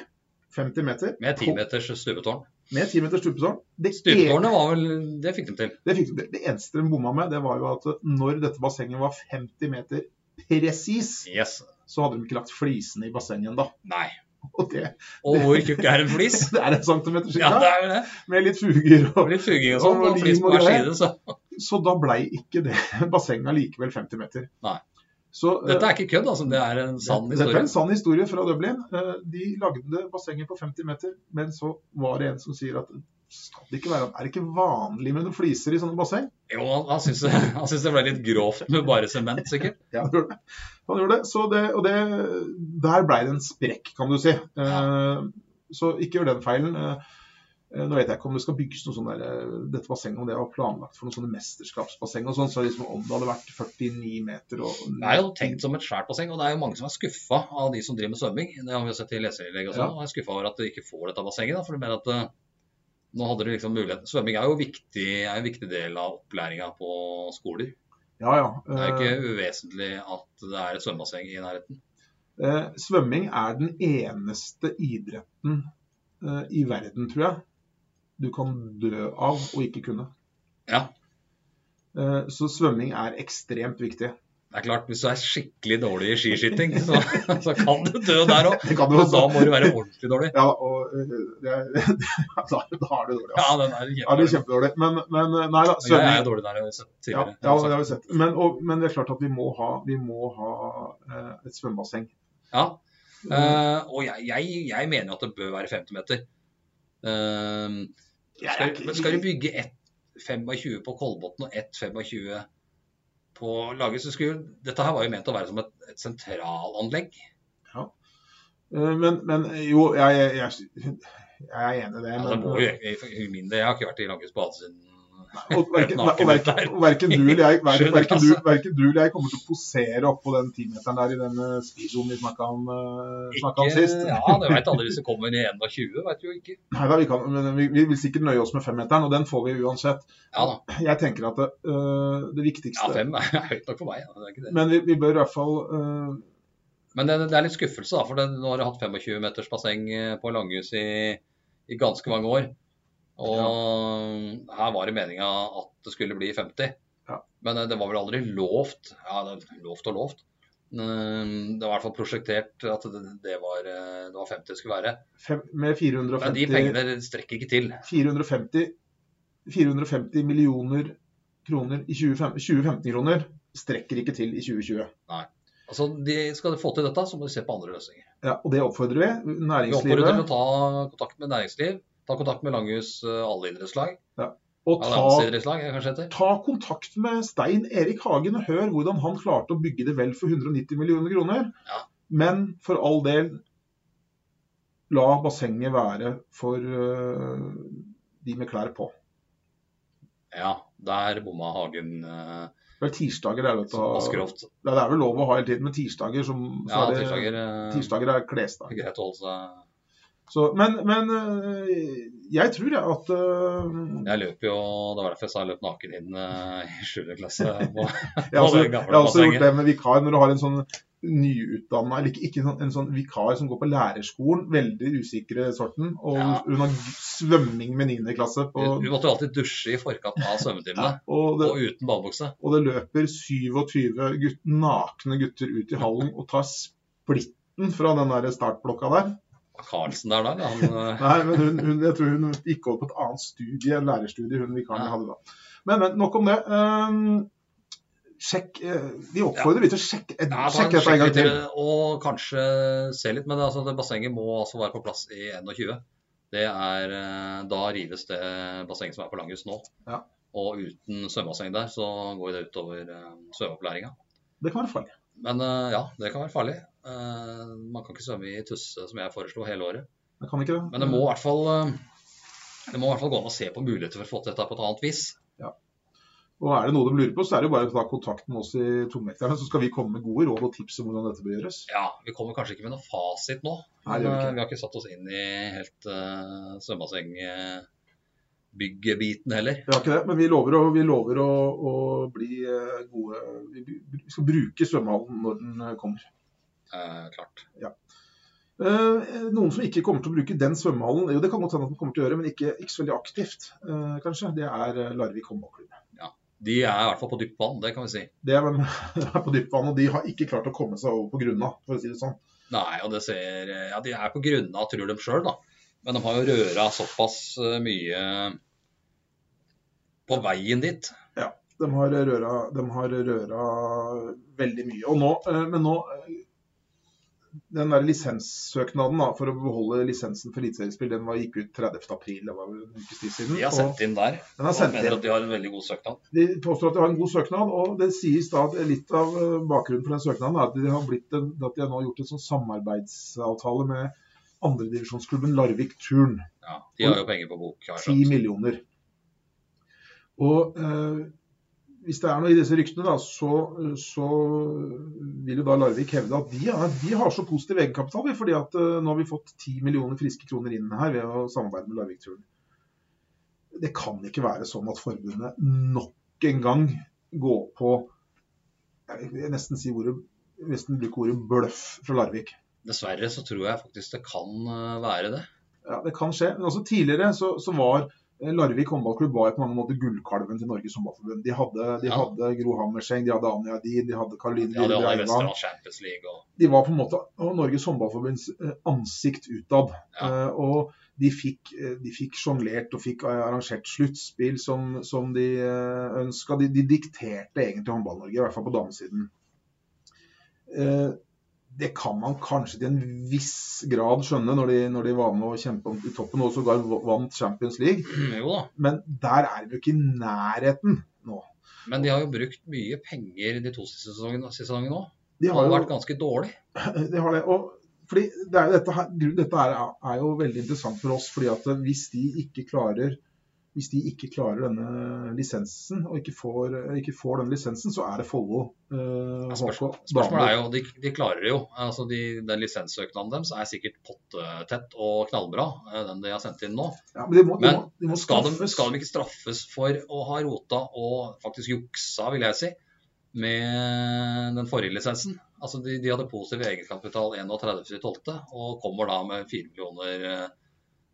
[SPEAKER 2] 50 meter.
[SPEAKER 1] Med 10 meters stuepetårn.
[SPEAKER 2] Med 10 meters stupetårn. Det, en-
[SPEAKER 1] Stupetårnet var vel Det fikk de til.
[SPEAKER 2] det, fikk, det, det eneste de bomma med, det var jo at når dette bassenget var 50 meter presis,
[SPEAKER 1] Yes.
[SPEAKER 2] så hadde de ikke lagt flisene i bassenget ennå.
[SPEAKER 1] Nei.
[SPEAKER 2] Og det
[SPEAKER 1] Og hvor tjukk er en flis?
[SPEAKER 2] [LAUGHS] Det er en centimeter
[SPEAKER 1] Ja,
[SPEAKER 2] cirka,
[SPEAKER 1] det er jo det.
[SPEAKER 2] med litt fuger.
[SPEAKER 1] Det
[SPEAKER 2] Og,
[SPEAKER 1] blir fuging og sånn.
[SPEAKER 2] Og
[SPEAKER 1] Og flis på
[SPEAKER 2] lim og
[SPEAKER 1] hver
[SPEAKER 2] greier.
[SPEAKER 1] side, så
[SPEAKER 2] så da blei ikke det [LAUGHS] bassenget likevel 50 meter.
[SPEAKER 1] Nei.
[SPEAKER 2] Så, eh,
[SPEAKER 1] Dette er ikke kødd, altså. Det er en sann
[SPEAKER 2] dette- Dette
[SPEAKER 1] historie.
[SPEAKER 2] er en sann historie fra Dublin. Eh, De lagde bassenget på 50 meter, men så var det en som sier at skal det ikke være, er det ikke vanlig med noen fliser i sånne basseng?
[SPEAKER 1] Jo, han- han syns det, [LAUGHS] han syns det ble litt grovt med bare sement, sikkert.
[SPEAKER 2] [LAUGHS] Ja, han gjorde det. Han gjorde det, så det og det, der blei det en sprekk, kan du si. Eh, Så ikke gjør den feilen. Eh, eh, Nå vet jeg ikke om det skal bygges noe sånn der, eh, dette bassenget, om det var planlagt for noen sånne mesterskapsbasseng og sånn, så liksom om det hadde vært 49 meter og
[SPEAKER 1] Det er jo tenkt som et svært basseng, og det er jo mange som er skuffa av de som driver med svømming. Det har vi jo sett i leserinnlegg og sånn, og er skuffa over at de ikke får dette bassenget. da, For de mener at eh, nå hadde du liksom mulighet Svømming er jo viktig, er en viktig del av opplæringa på skoler.
[SPEAKER 2] Ja, ja.
[SPEAKER 1] Det
[SPEAKER 2] Eh,
[SPEAKER 1] er ikke uvesentlig at det er et svømmebasseng i nærheten.
[SPEAKER 2] Eh, svømming er den eneste idretten eh, i verden, tror jeg, du kan dø av og ikke kunne.
[SPEAKER 1] Ja.
[SPEAKER 2] Eh, så svømming er ekstremt viktig.
[SPEAKER 1] Det er klart, Hvis du er skikkelig dårlig i skiskyting, så, [LAUGHS] så kan du dø der òg.
[SPEAKER 2] Det kan du
[SPEAKER 1] Og da
[SPEAKER 2] også.
[SPEAKER 1] må du være ordentlig dårlig.
[SPEAKER 2] Ja, og eh, [LAUGHS] det, da, da er det dårlig.
[SPEAKER 1] Ja,
[SPEAKER 2] Altså.
[SPEAKER 1] den er
[SPEAKER 2] Ja, det er
[SPEAKER 1] kjempedårlig.
[SPEAKER 2] kjempedårlig. Men, men eh, nei da.
[SPEAKER 1] Jeg er
[SPEAKER 2] svømming-
[SPEAKER 1] dårlig der. Jeg har sett
[SPEAKER 2] Ja,
[SPEAKER 1] tidligere.
[SPEAKER 2] ja, det har vi sett. Men, og, men det er klart at vi må ha, vi må ha eh, et svømmebasseng.
[SPEAKER 1] Ja. Eh, og jeg, jeg, jeg mener jo at det bør være 50 meter. Eh, skal, men skal du bygge ett 25 på Kolbotn og ett 25 på Laget, så skulle Dette her var jo ment å være som et, et sentralanlegg.
[SPEAKER 2] Eh, men, men jo, jeg, jeg, jeg, jeg er enig i det.
[SPEAKER 1] Ja, Altså, det
[SPEAKER 2] men- eh,
[SPEAKER 1] må jo, jeg, for min del, jeg har ikke vært i Lages bade siden
[SPEAKER 2] Og verken,
[SPEAKER 1] Naken
[SPEAKER 2] og verken,
[SPEAKER 1] der.
[SPEAKER 2] og verken, du eller jeg, verken,
[SPEAKER 1] Skjønner,
[SPEAKER 2] verken, du,
[SPEAKER 1] altså.
[SPEAKER 2] verken du eller jeg kommer til å posere oppå den timeteren der i den eh, speedoen vi snakka om, eh, snakket om
[SPEAKER 1] Ikke,
[SPEAKER 2] sist.
[SPEAKER 1] ja, det veit aldri hvis det kommer i 21, veit du jo ikke.
[SPEAKER 2] Neida, vi, kan, men vi, vi vil sikkert nøye oss med femmeteren, og den får vi uansett.
[SPEAKER 1] Ja da.
[SPEAKER 2] Jeg tenker at det, eh, det
[SPEAKER 1] Ja,
[SPEAKER 2] viktigste
[SPEAKER 1] fem er [LAUGHS] høyt nok for meg. Ja. Det er ikke det.
[SPEAKER 2] Men vi, vi bør i hvert fall eh,
[SPEAKER 1] Men det, det er litt skuffelse, da. For det, nå har jeg hatt 25 meters basseng eh, på Langhus i, i ganske mange år. Og her var det meninga at det skulle bli 50.
[SPEAKER 2] Ja.
[SPEAKER 1] Men eh, det var vel aldri lovt. Ja, det er lovt og lovt. Mm, Det var i hvert fall prosjektert at det, det, var, eh, det var 50 det skulle være.
[SPEAKER 2] fem, med
[SPEAKER 1] Men de
[SPEAKER 2] 450,
[SPEAKER 1] pengene strekker ikke til.
[SPEAKER 2] 450, 450 millioner kroner i 2015 2015-kroner strekker ikke til i 2020.
[SPEAKER 1] Altså, de, Skal de få til dette, så må de se på andre løsninger.
[SPEAKER 2] Ja, og det oppfordrer vi.
[SPEAKER 1] Vi oppfordrer til å
[SPEAKER 2] Næringslivet.
[SPEAKER 1] ta kontakt med næringsliv. Ta kontakt med Langhus eh, alleidrettslag.
[SPEAKER 2] Og ta
[SPEAKER 1] Langhus-idrettslag, kanskje det heter.
[SPEAKER 2] Ta kontakt med Stein Erik Hagen og hør hvordan han klarte å bygge det vel for 190 millioner kroner.
[SPEAKER 1] Ja.
[SPEAKER 2] Men for all del, la bassenget være for øh, de med klær på.
[SPEAKER 1] Ja, der bomma Hagen eh,
[SPEAKER 2] Det er tirsdager det er, vet du.
[SPEAKER 1] som Askerhoft.
[SPEAKER 2] Ja, Det er vel lov å ha hele tiden, men tirsdager, som, så
[SPEAKER 1] Ja,
[SPEAKER 2] er, det,
[SPEAKER 1] tirsdager. eh,
[SPEAKER 2] tirsdager er klesdag.
[SPEAKER 1] er Greit å holde seg
[SPEAKER 2] Så, men men øh, jeg tror jeg at øh,
[SPEAKER 1] Jeg løp jo Det var derfor jeg sa jeg løp naken inn eh, i 7. klasse.
[SPEAKER 2] [LAUGHS]
[SPEAKER 1] på-
[SPEAKER 2] Jeg har også,
[SPEAKER 1] det
[SPEAKER 2] jeg
[SPEAKER 1] gamle
[SPEAKER 2] har også
[SPEAKER 1] bassenget.
[SPEAKER 2] gjort det med vikar. Når du har en sånn nyutdanna, eller ikke, ikke sånn, en sånn vikar som går på lærerskolen, veldig usikre sorten, og
[SPEAKER 1] Ja.
[SPEAKER 2] hun har svømming med 9. klasse på
[SPEAKER 1] Du måtte jo alltid dusje i forkant av svømmetimene.
[SPEAKER 2] og, det,
[SPEAKER 1] Og uten badebukse.
[SPEAKER 2] og det løper 27 gutt, nakne gutter ut i hallen og tar splitten fra den der startblokka der.
[SPEAKER 1] Karlsen der, da. Han, eh,
[SPEAKER 2] Nei, men hun, hun, jeg tror hun gikk over på et annet studie, en lærerstudie, hun vikaren
[SPEAKER 1] Ja.
[SPEAKER 2] hadde da. Men, men nok om det. Ehm, sjekk, eh, vi oppfordrer vi til å sjekke,
[SPEAKER 1] Ja, ta en
[SPEAKER 2] sjekke dette en gang
[SPEAKER 1] sjekk
[SPEAKER 2] til.
[SPEAKER 1] litt, Og kanskje se litt, men det, altså, det bassenget må altså være på plass i 21. Det er, eh, da rives det bassenget som er på Langhus nå.
[SPEAKER 2] Ja.
[SPEAKER 1] Og uten svømmebasseng der, så går det utover eh, svømmeopplæringa.
[SPEAKER 2] Det kan være farlig.
[SPEAKER 1] Men eh, ja, det kan være farlig. Eh, Man kan ikke svømme i Tusse, som jeg foreslo, hele året.
[SPEAKER 2] Jeg kan ikke det.
[SPEAKER 1] Men det må i hvert fall eh, det må i hvert fall gå an å se på muligheter for å få til dette på et annet vis.
[SPEAKER 2] Og er det noe de lurer på, så er det jo bare å ta kontakt med oss i Tungvekterne, så skal vi komme med gode råd og tips om hvordan dette bør gjøres.
[SPEAKER 1] Ja, Vi kommer kanskje ikke med noe fasit nå.
[SPEAKER 2] Nei, det
[SPEAKER 1] men,
[SPEAKER 2] gjør vi
[SPEAKER 1] eh,
[SPEAKER 2] ikke.
[SPEAKER 1] vi har ikke satt oss inn i helt uh, svømmebassengbyggebiten heller.
[SPEAKER 2] Vi har ikke det, men vi lover å, vi lover å, å bli eh, gode Vi br- vi skal bruke svømmehallen når den eh, kommer.
[SPEAKER 1] Eh, klart.
[SPEAKER 2] Eh, noen som ikke kommer til å bruke den svømmehallen, jo det kan godt hende at den kommer til å gjøre, men ikke, ikke så veldig aktivt, eh, kanskje, det er eh, Larvik håndballklubb.
[SPEAKER 1] De er i hvert fall på dypt vann, det kan vi si.
[SPEAKER 2] Det er, de [LAUGHS] er på dypt vann, og de har ikke klart å komme seg over på grunna, for å si det sånn.
[SPEAKER 1] Nei, og det ser eh, Ja, de er på grunna, tror de sjøl, da. Men de har jo røra såpass eh, mye på veien dit.
[SPEAKER 2] De har røra, de har røra veldig mye. Og nå, eh, men nå eh, Den der lisenssøknaden da, for å beholde lisensen for eliteseriespill, den var, gikk ut 30.4. Det var vel en ukes tid siden.
[SPEAKER 1] De har
[SPEAKER 2] og
[SPEAKER 1] sendt inn der.
[SPEAKER 2] den er
[SPEAKER 1] Og
[SPEAKER 2] sendt
[SPEAKER 1] mener
[SPEAKER 2] inn.
[SPEAKER 1] at de har en veldig god søknad.
[SPEAKER 2] De påstår at de har en god søknad, og det sies da at litt av eh, bakgrunnen for den søknaden er at de har, blitt en, at de har nå gjort en sånn samarbeidsavtale med andredivisjonsklubben Larvik Turn.
[SPEAKER 1] Ja, de har jo penger på bok. Har jeg
[SPEAKER 2] 10
[SPEAKER 1] skjønt.
[SPEAKER 2] millioner. Og eh, hvis det er noe i disse ryktene, da, så, så vil jo da Larvik hevde at de, er, de har så positiv egenkapital, vi, fordi at eh, nå har vi fått 10 millioner friske kroner inn her ved å samarbeide med Larvik-turen. Det kan ikke være sånn at forbundet nok en gang går på Jeg vil nesten si ordet nesten bruke ordet bløff fra Larvik.
[SPEAKER 1] Dessverre så tror jeg faktisk det kan eh, være det.
[SPEAKER 2] Ja, det kan skje. Men også tidligere så, så var eh, Larvik håndballklubb var jo på mange måter gullkalven til Norges håndballforbund. De hadde, de
[SPEAKER 1] Ja.
[SPEAKER 2] hadde Gro Hammerseng, de hadde Anja Did, de hadde Karoline
[SPEAKER 1] De hadde
[SPEAKER 2] Lille
[SPEAKER 1] alle
[SPEAKER 2] Eivann.
[SPEAKER 1] Westerdal Champions League og [CLEARS THROAT]
[SPEAKER 2] De var på en måte og Norges håndballforbunds eh, ansikt utad.
[SPEAKER 1] Ja.
[SPEAKER 2] Eh, Og de fikk, eh, de fikk sjonglert og fikk eh, arrangert sluttspill som, som de ønska. De, de dikterte egentlig Håndball-Norge, i hvert fall på damesiden. Eh, Det kan man kanskje til en viss grad skjønne når de, når de var med å kjempe om i toppen og sågar vant Champions League.
[SPEAKER 1] Jo da.
[SPEAKER 2] Men der er vi jo ikke i nærheten nå.
[SPEAKER 1] Men de har jo brukt mye penger de to siste sesongene sesongene òg.
[SPEAKER 2] De
[SPEAKER 1] Det
[SPEAKER 2] har
[SPEAKER 1] har
[SPEAKER 2] jo,
[SPEAKER 1] vært ganske dårlig.
[SPEAKER 2] de har Eh, det. Og fordi det er jo dette her, grunnen- dette er, er jo veldig interessant for oss. fordi at eh, hvis de ikke klarer hvis de ikke klarer denne lisensen, og ikke får, eh, ikke får den lisensen, så er det Follo. eh,
[SPEAKER 1] Ja,
[SPEAKER 2] HK
[SPEAKER 1] spørs- Spørsmålet er
[SPEAKER 2] damer.
[SPEAKER 1] jo, de, de klarer det jo. Altså de, den Lisenssøknaden deres er sikkert pottetett og knallbra, eh, den de har sendt inn nå.
[SPEAKER 2] Ja, men de må, de
[SPEAKER 1] Men
[SPEAKER 2] må, de må
[SPEAKER 1] Skal de,
[SPEAKER 2] straffes.
[SPEAKER 1] skal de ikke straffes for å ha rota og faktisk juksa, vil jeg si, med den forrige lisensen? Altså de, de hadde positiv egenkapital 31.12. og kommer da med 4 millioner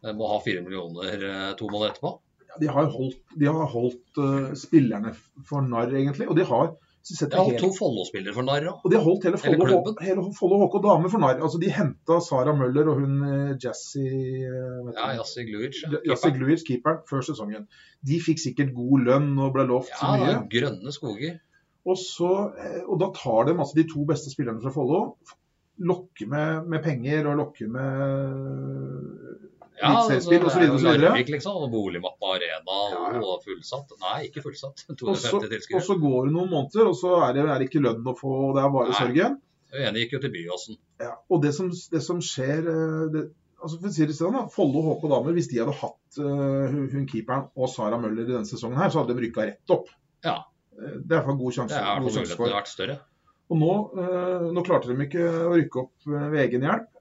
[SPEAKER 1] eh, må ha 4 millioner eh, to måneder etterpå.
[SPEAKER 2] Ja, de har jo holdt, de har holdt eh, spillerne for narr, egentlig. Og de har, hvis du setter
[SPEAKER 1] Ja, og
[SPEAKER 2] helt-
[SPEAKER 1] to Follo-spillere for narr òg.
[SPEAKER 2] Og de har holdt hele
[SPEAKER 1] Hele
[SPEAKER 2] Follo
[SPEAKER 1] klubben.
[SPEAKER 2] hele Follo HK dame for narr. Altså, de henta Sara Møller og hun eh, Jessie eh, vet
[SPEAKER 1] Ja,
[SPEAKER 2] du,
[SPEAKER 1] Jassi Gluic. ja,
[SPEAKER 2] J- Jessie
[SPEAKER 1] keeperen.
[SPEAKER 2] Gluic, keeperen, før sesongen. De fikk sikkert god lønn og ble lovt så
[SPEAKER 1] Ja,
[SPEAKER 2] mye.
[SPEAKER 1] da, grønne skoger.
[SPEAKER 2] Og, så, eh, og da tar de altså, de to beste spillerne fra Follo, lokker med, med penger og lokker med
[SPEAKER 1] Ja, altså,
[SPEAKER 2] Eliteseriespill og så videre og så videre.
[SPEAKER 1] Larvik, liksom. Og Boligmappa Arena
[SPEAKER 2] Ja, ja.
[SPEAKER 1] og fullsatt. Nei, ikke fullsatt. [LAUGHS]
[SPEAKER 2] Og
[SPEAKER 1] 250
[SPEAKER 2] så, og
[SPEAKER 1] tilskuere.
[SPEAKER 2] så går det noen måneder, og så er det, er det ikke lønn å få, og det er bare
[SPEAKER 1] Nei.
[SPEAKER 2] sorgen.
[SPEAKER 1] Den ene gikk jo til Byåsen.
[SPEAKER 2] Ja, og det som, det som skjer eh, det, altså for å si det sånn da, Follo HK damer, hvis de hadde hatt eh, hun- hun keeperen og Sara Møller i denne sesongen, her, så hadde de rykka rett opp.
[SPEAKER 1] Ja.
[SPEAKER 2] Eh, Det er i hvert fall
[SPEAKER 1] Det
[SPEAKER 2] god
[SPEAKER 1] er
[SPEAKER 2] sjanse.
[SPEAKER 1] i hvert
[SPEAKER 2] god
[SPEAKER 1] fall muligheten
[SPEAKER 2] sjanse for.
[SPEAKER 1] har vært større.
[SPEAKER 2] Og nå, eh, nå klarte de ikke å rykke opp eh, ved egen hjelp.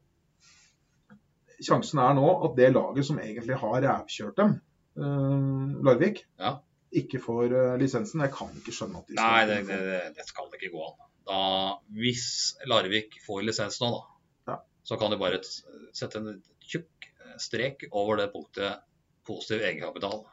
[SPEAKER 2] Sjansen er nå at det laget som egentlig har rævkjørt dem, eh, Larvik,
[SPEAKER 1] Ja.
[SPEAKER 2] ikke får eh, lisensen. Jeg kan ikke skjønne at de
[SPEAKER 1] Nei, det, det, det- det skal ikke gå an. Da, hvis Larvik får lisens nå, da,
[SPEAKER 2] Ja.
[SPEAKER 1] så kan de bare s- sette en tjukk eh, strek over det punktet positiv egenkapital.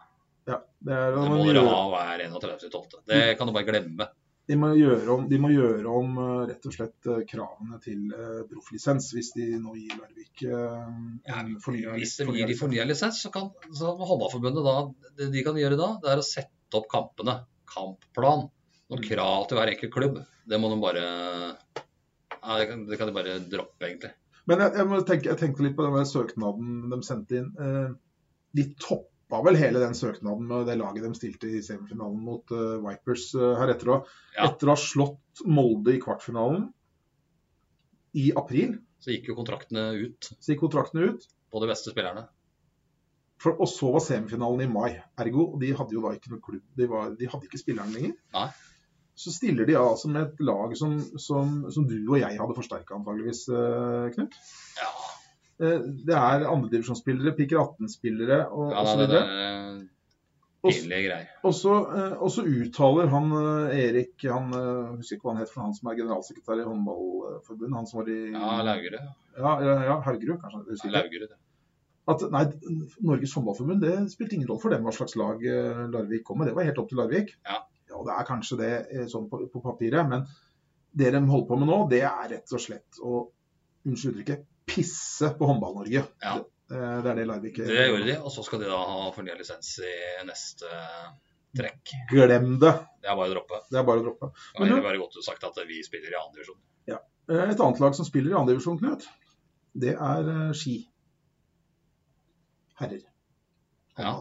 [SPEAKER 2] Ja, det er,
[SPEAKER 1] Det
[SPEAKER 2] de
[SPEAKER 1] må
[SPEAKER 2] må
[SPEAKER 1] dere
[SPEAKER 2] gjøre-
[SPEAKER 1] ha hver 31.12. Det
[SPEAKER 2] Mm.
[SPEAKER 1] kan du bare glemme.
[SPEAKER 2] De må gjøre om, de må gjøre om eh, rett og slett eh, kravene til eh, profflisens, hvis de nå gir Larvik eh,
[SPEAKER 1] Ja,
[SPEAKER 2] en fornya
[SPEAKER 1] Hvis de gir de fornya lisens, så kan så må Håndballforbundet da, det de kan gjøre da, det er å sette opp kampene. Kampplan. Noen
[SPEAKER 2] Mm.
[SPEAKER 1] krav til hver enkelt klubb. Det må de bare ja, det, kan, det kan de bare droppe, egentlig.
[SPEAKER 2] Men jeg, jeg, må tenke, jeg tenkte litt på den der søknaden de sendte inn. Eh, De toppa vel hele den søknaden med det laget de stilte i semifinalen mot eh, Vipers eh, her etter å,
[SPEAKER 1] Ja.
[SPEAKER 2] etter å ha slått Molde i kvartfinalen i april.
[SPEAKER 1] Så gikk jo kontraktene ut
[SPEAKER 2] Så gikk kontraktene ut.
[SPEAKER 1] på de beste spillerne.
[SPEAKER 2] For, og så var semifinalen i mai. Ergo, de hadde jo da ikke noe klubb. De, var, de hadde ikke spilleren lenger.
[SPEAKER 1] Nei.
[SPEAKER 2] Så stiller de altså med et lag som, som, som du og jeg hadde forsterka antageligvis, eh, Knut.
[SPEAKER 1] Ja,
[SPEAKER 2] Eh, Det er andredivisjonsspillere, piker 18-spillere og
[SPEAKER 1] ja
[SPEAKER 2] og så
[SPEAKER 1] det, det
[SPEAKER 2] videre.
[SPEAKER 1] er
[SPEAKER 2] Og-
[SPEAKER 1] pinlige greier.
[SPEAKER 2] Og så, eh, og så uttaler han eh, Erik han, eh, jeg husker ikke hva han het, for han som er generalsekretær i Håndballforbundet, han som var i
[SPEAKER 1] Ja, Laugerud.
[SPEAKER 2] ja, ja, ja, Haugerud, kanskje. jeg
[SPEAKER 1] Ja,
[SPEAKER 2] husker ikke.
[SPEAKER 1] Laugerud.
[SPEAKER 2] at nei, Norges håndballforbund det spilte ingen rolle for dem hva slags lag eh, Larvik kom med. Det var helt opp til Larvik.
[SPEAKER 1] Ja.
[SPEAKER 2] det er kanskje det eh, sånn på, på papiret, men det de holder på med nå, det er rett og slett å unnskyld uttrykket, pisse på Håndball-Norge.
[SPEAKER 1] Ja.
[SPEAKER 2] Det, eh, det er det Larvik
[SPEAKER 1] Det gjorde de, og så skal de da ha fornya lisens i neste eh, trekk.
[SPEAKER 2] Glem det.
[SPEAKER 1] Det er bare å droppe.
[SPEAKER 2] Det er bare å droppe.
[SPEAKER 1] Det
[SPEAKER 2] Men
[SPEAKER 1] er
[SPEAKER 2] du-
[SPEAKER 1] bare godt sagt at eh, vi spiller i andre divisjon.
[SPEAKER 2] Eh, Et annet lag som spiller i andre divisjon, Knut, det er eh, Ski. Herrer.
[SPEAKER 1] Ja.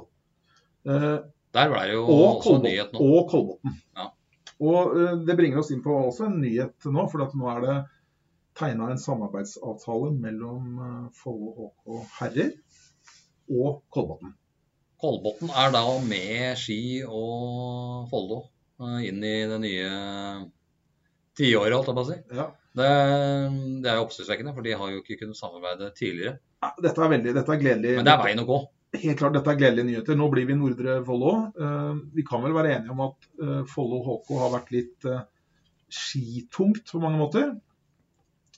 [SPEAKER 2] Eh,
[SPEAKER 1] Der ble det jo
[SPEAKER 2] og,
[SPEAKER 1] også
[SPEAKER 2] Kolbotn,
[SPEAKER 1] nyhet nå.
[SPEAKER 2] og Kolbotn.
[SPEAKER 1] Ja.
[SPEAKER 2] Og eh, det bringer oss inn på også en nyhet nå, for at nå er det tegna en samarbeidsavtale mellom eh, Follo HK herrer og Kolbotn.
[SPEAKER 1] Kolbotn er da med Ski og Follo eh, inn i det nye eh, tiåret, holdt jeg på å si.
[SPEAKER 2] Ja.
[SPEAKER 1] Det, det er jo oppsiktsvekkende, for de har jo ikke kunnet samarbeide tidligere.
[SPEAKER 2] Ja, Dette er veldig, dette er gledelig.
[SPEAKER 1] Men det er veien å gå.
[SPEAKER 2] Helt klart, dette er gledelige nyheter. Nå blir vi Nordre Follo. Eh, Vi kan vel være enige om at eh, Follo HK har vært litt eh, skitungt på mange måter.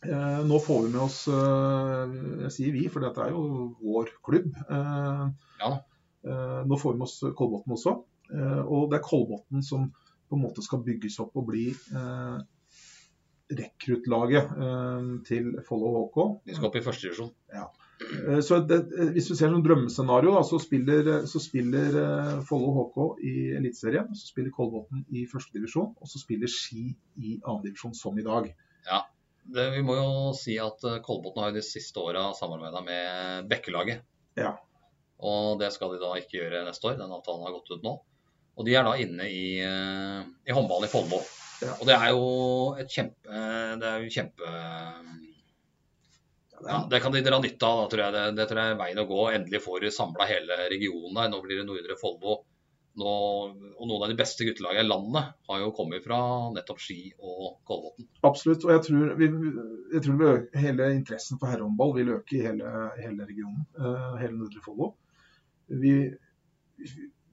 [SPEAKER 2] Eh, Nå får vi med oss eh, Jeg sier vi, for dette er jo vår klubb. eh,
[SPEAKER 1] Ja da.
[SPEAKER 2] Eh, Nå får vi med oss Kolbotn også. eh, Og det er Kolbotn som på en måte skal bygges opp og bli eh, rekruttlaget eh, til Follo HK.
[SPEAKER 1] De skal opp i første divisjon.
[SPEAKER 2] Eh, Så det, eh, hvis du ser som drømmescenario, da, så spiller, så spiller eh, Follo HK i Eliteserien, så spiller Kolbotn i førstedivisjon, og så spiller Ski i andredivisjon som i dag.
[SPEAKER 1] Det- Vi må jo si at eh, Kolbotn har jo de siste åra samarbeida med Bekkelaget.
[SPEAKER 2] Ja.
[SPEAKER 1] Og det skal de da ikke gjøre neste år. Den avtalen har gått ut nå. Og de er da inne i, eh, i håndball i Follo.
[SPEAKER 2] Ja.
[SPEAKER 1] Og det er jo et kjempe eh, Det er jo kjempe ja, Det kan de dra nytte av, da, tror jeg. Det, det tror jeg er veien å gå. Endelig får du samla hele regionen her. Nå blir det Nordre Follo. Nå, og noen av de beste guttelagene i landet har jo kommet fra nettopp Ski og Kolbotn.
[SPEAKER 2] Absolutt. Og jeg tror, vi, jeg tror vi øker, hele interessen for herrehåndball vil øke i hele, hele regionen. eh, hele Nordre Follo. Vi,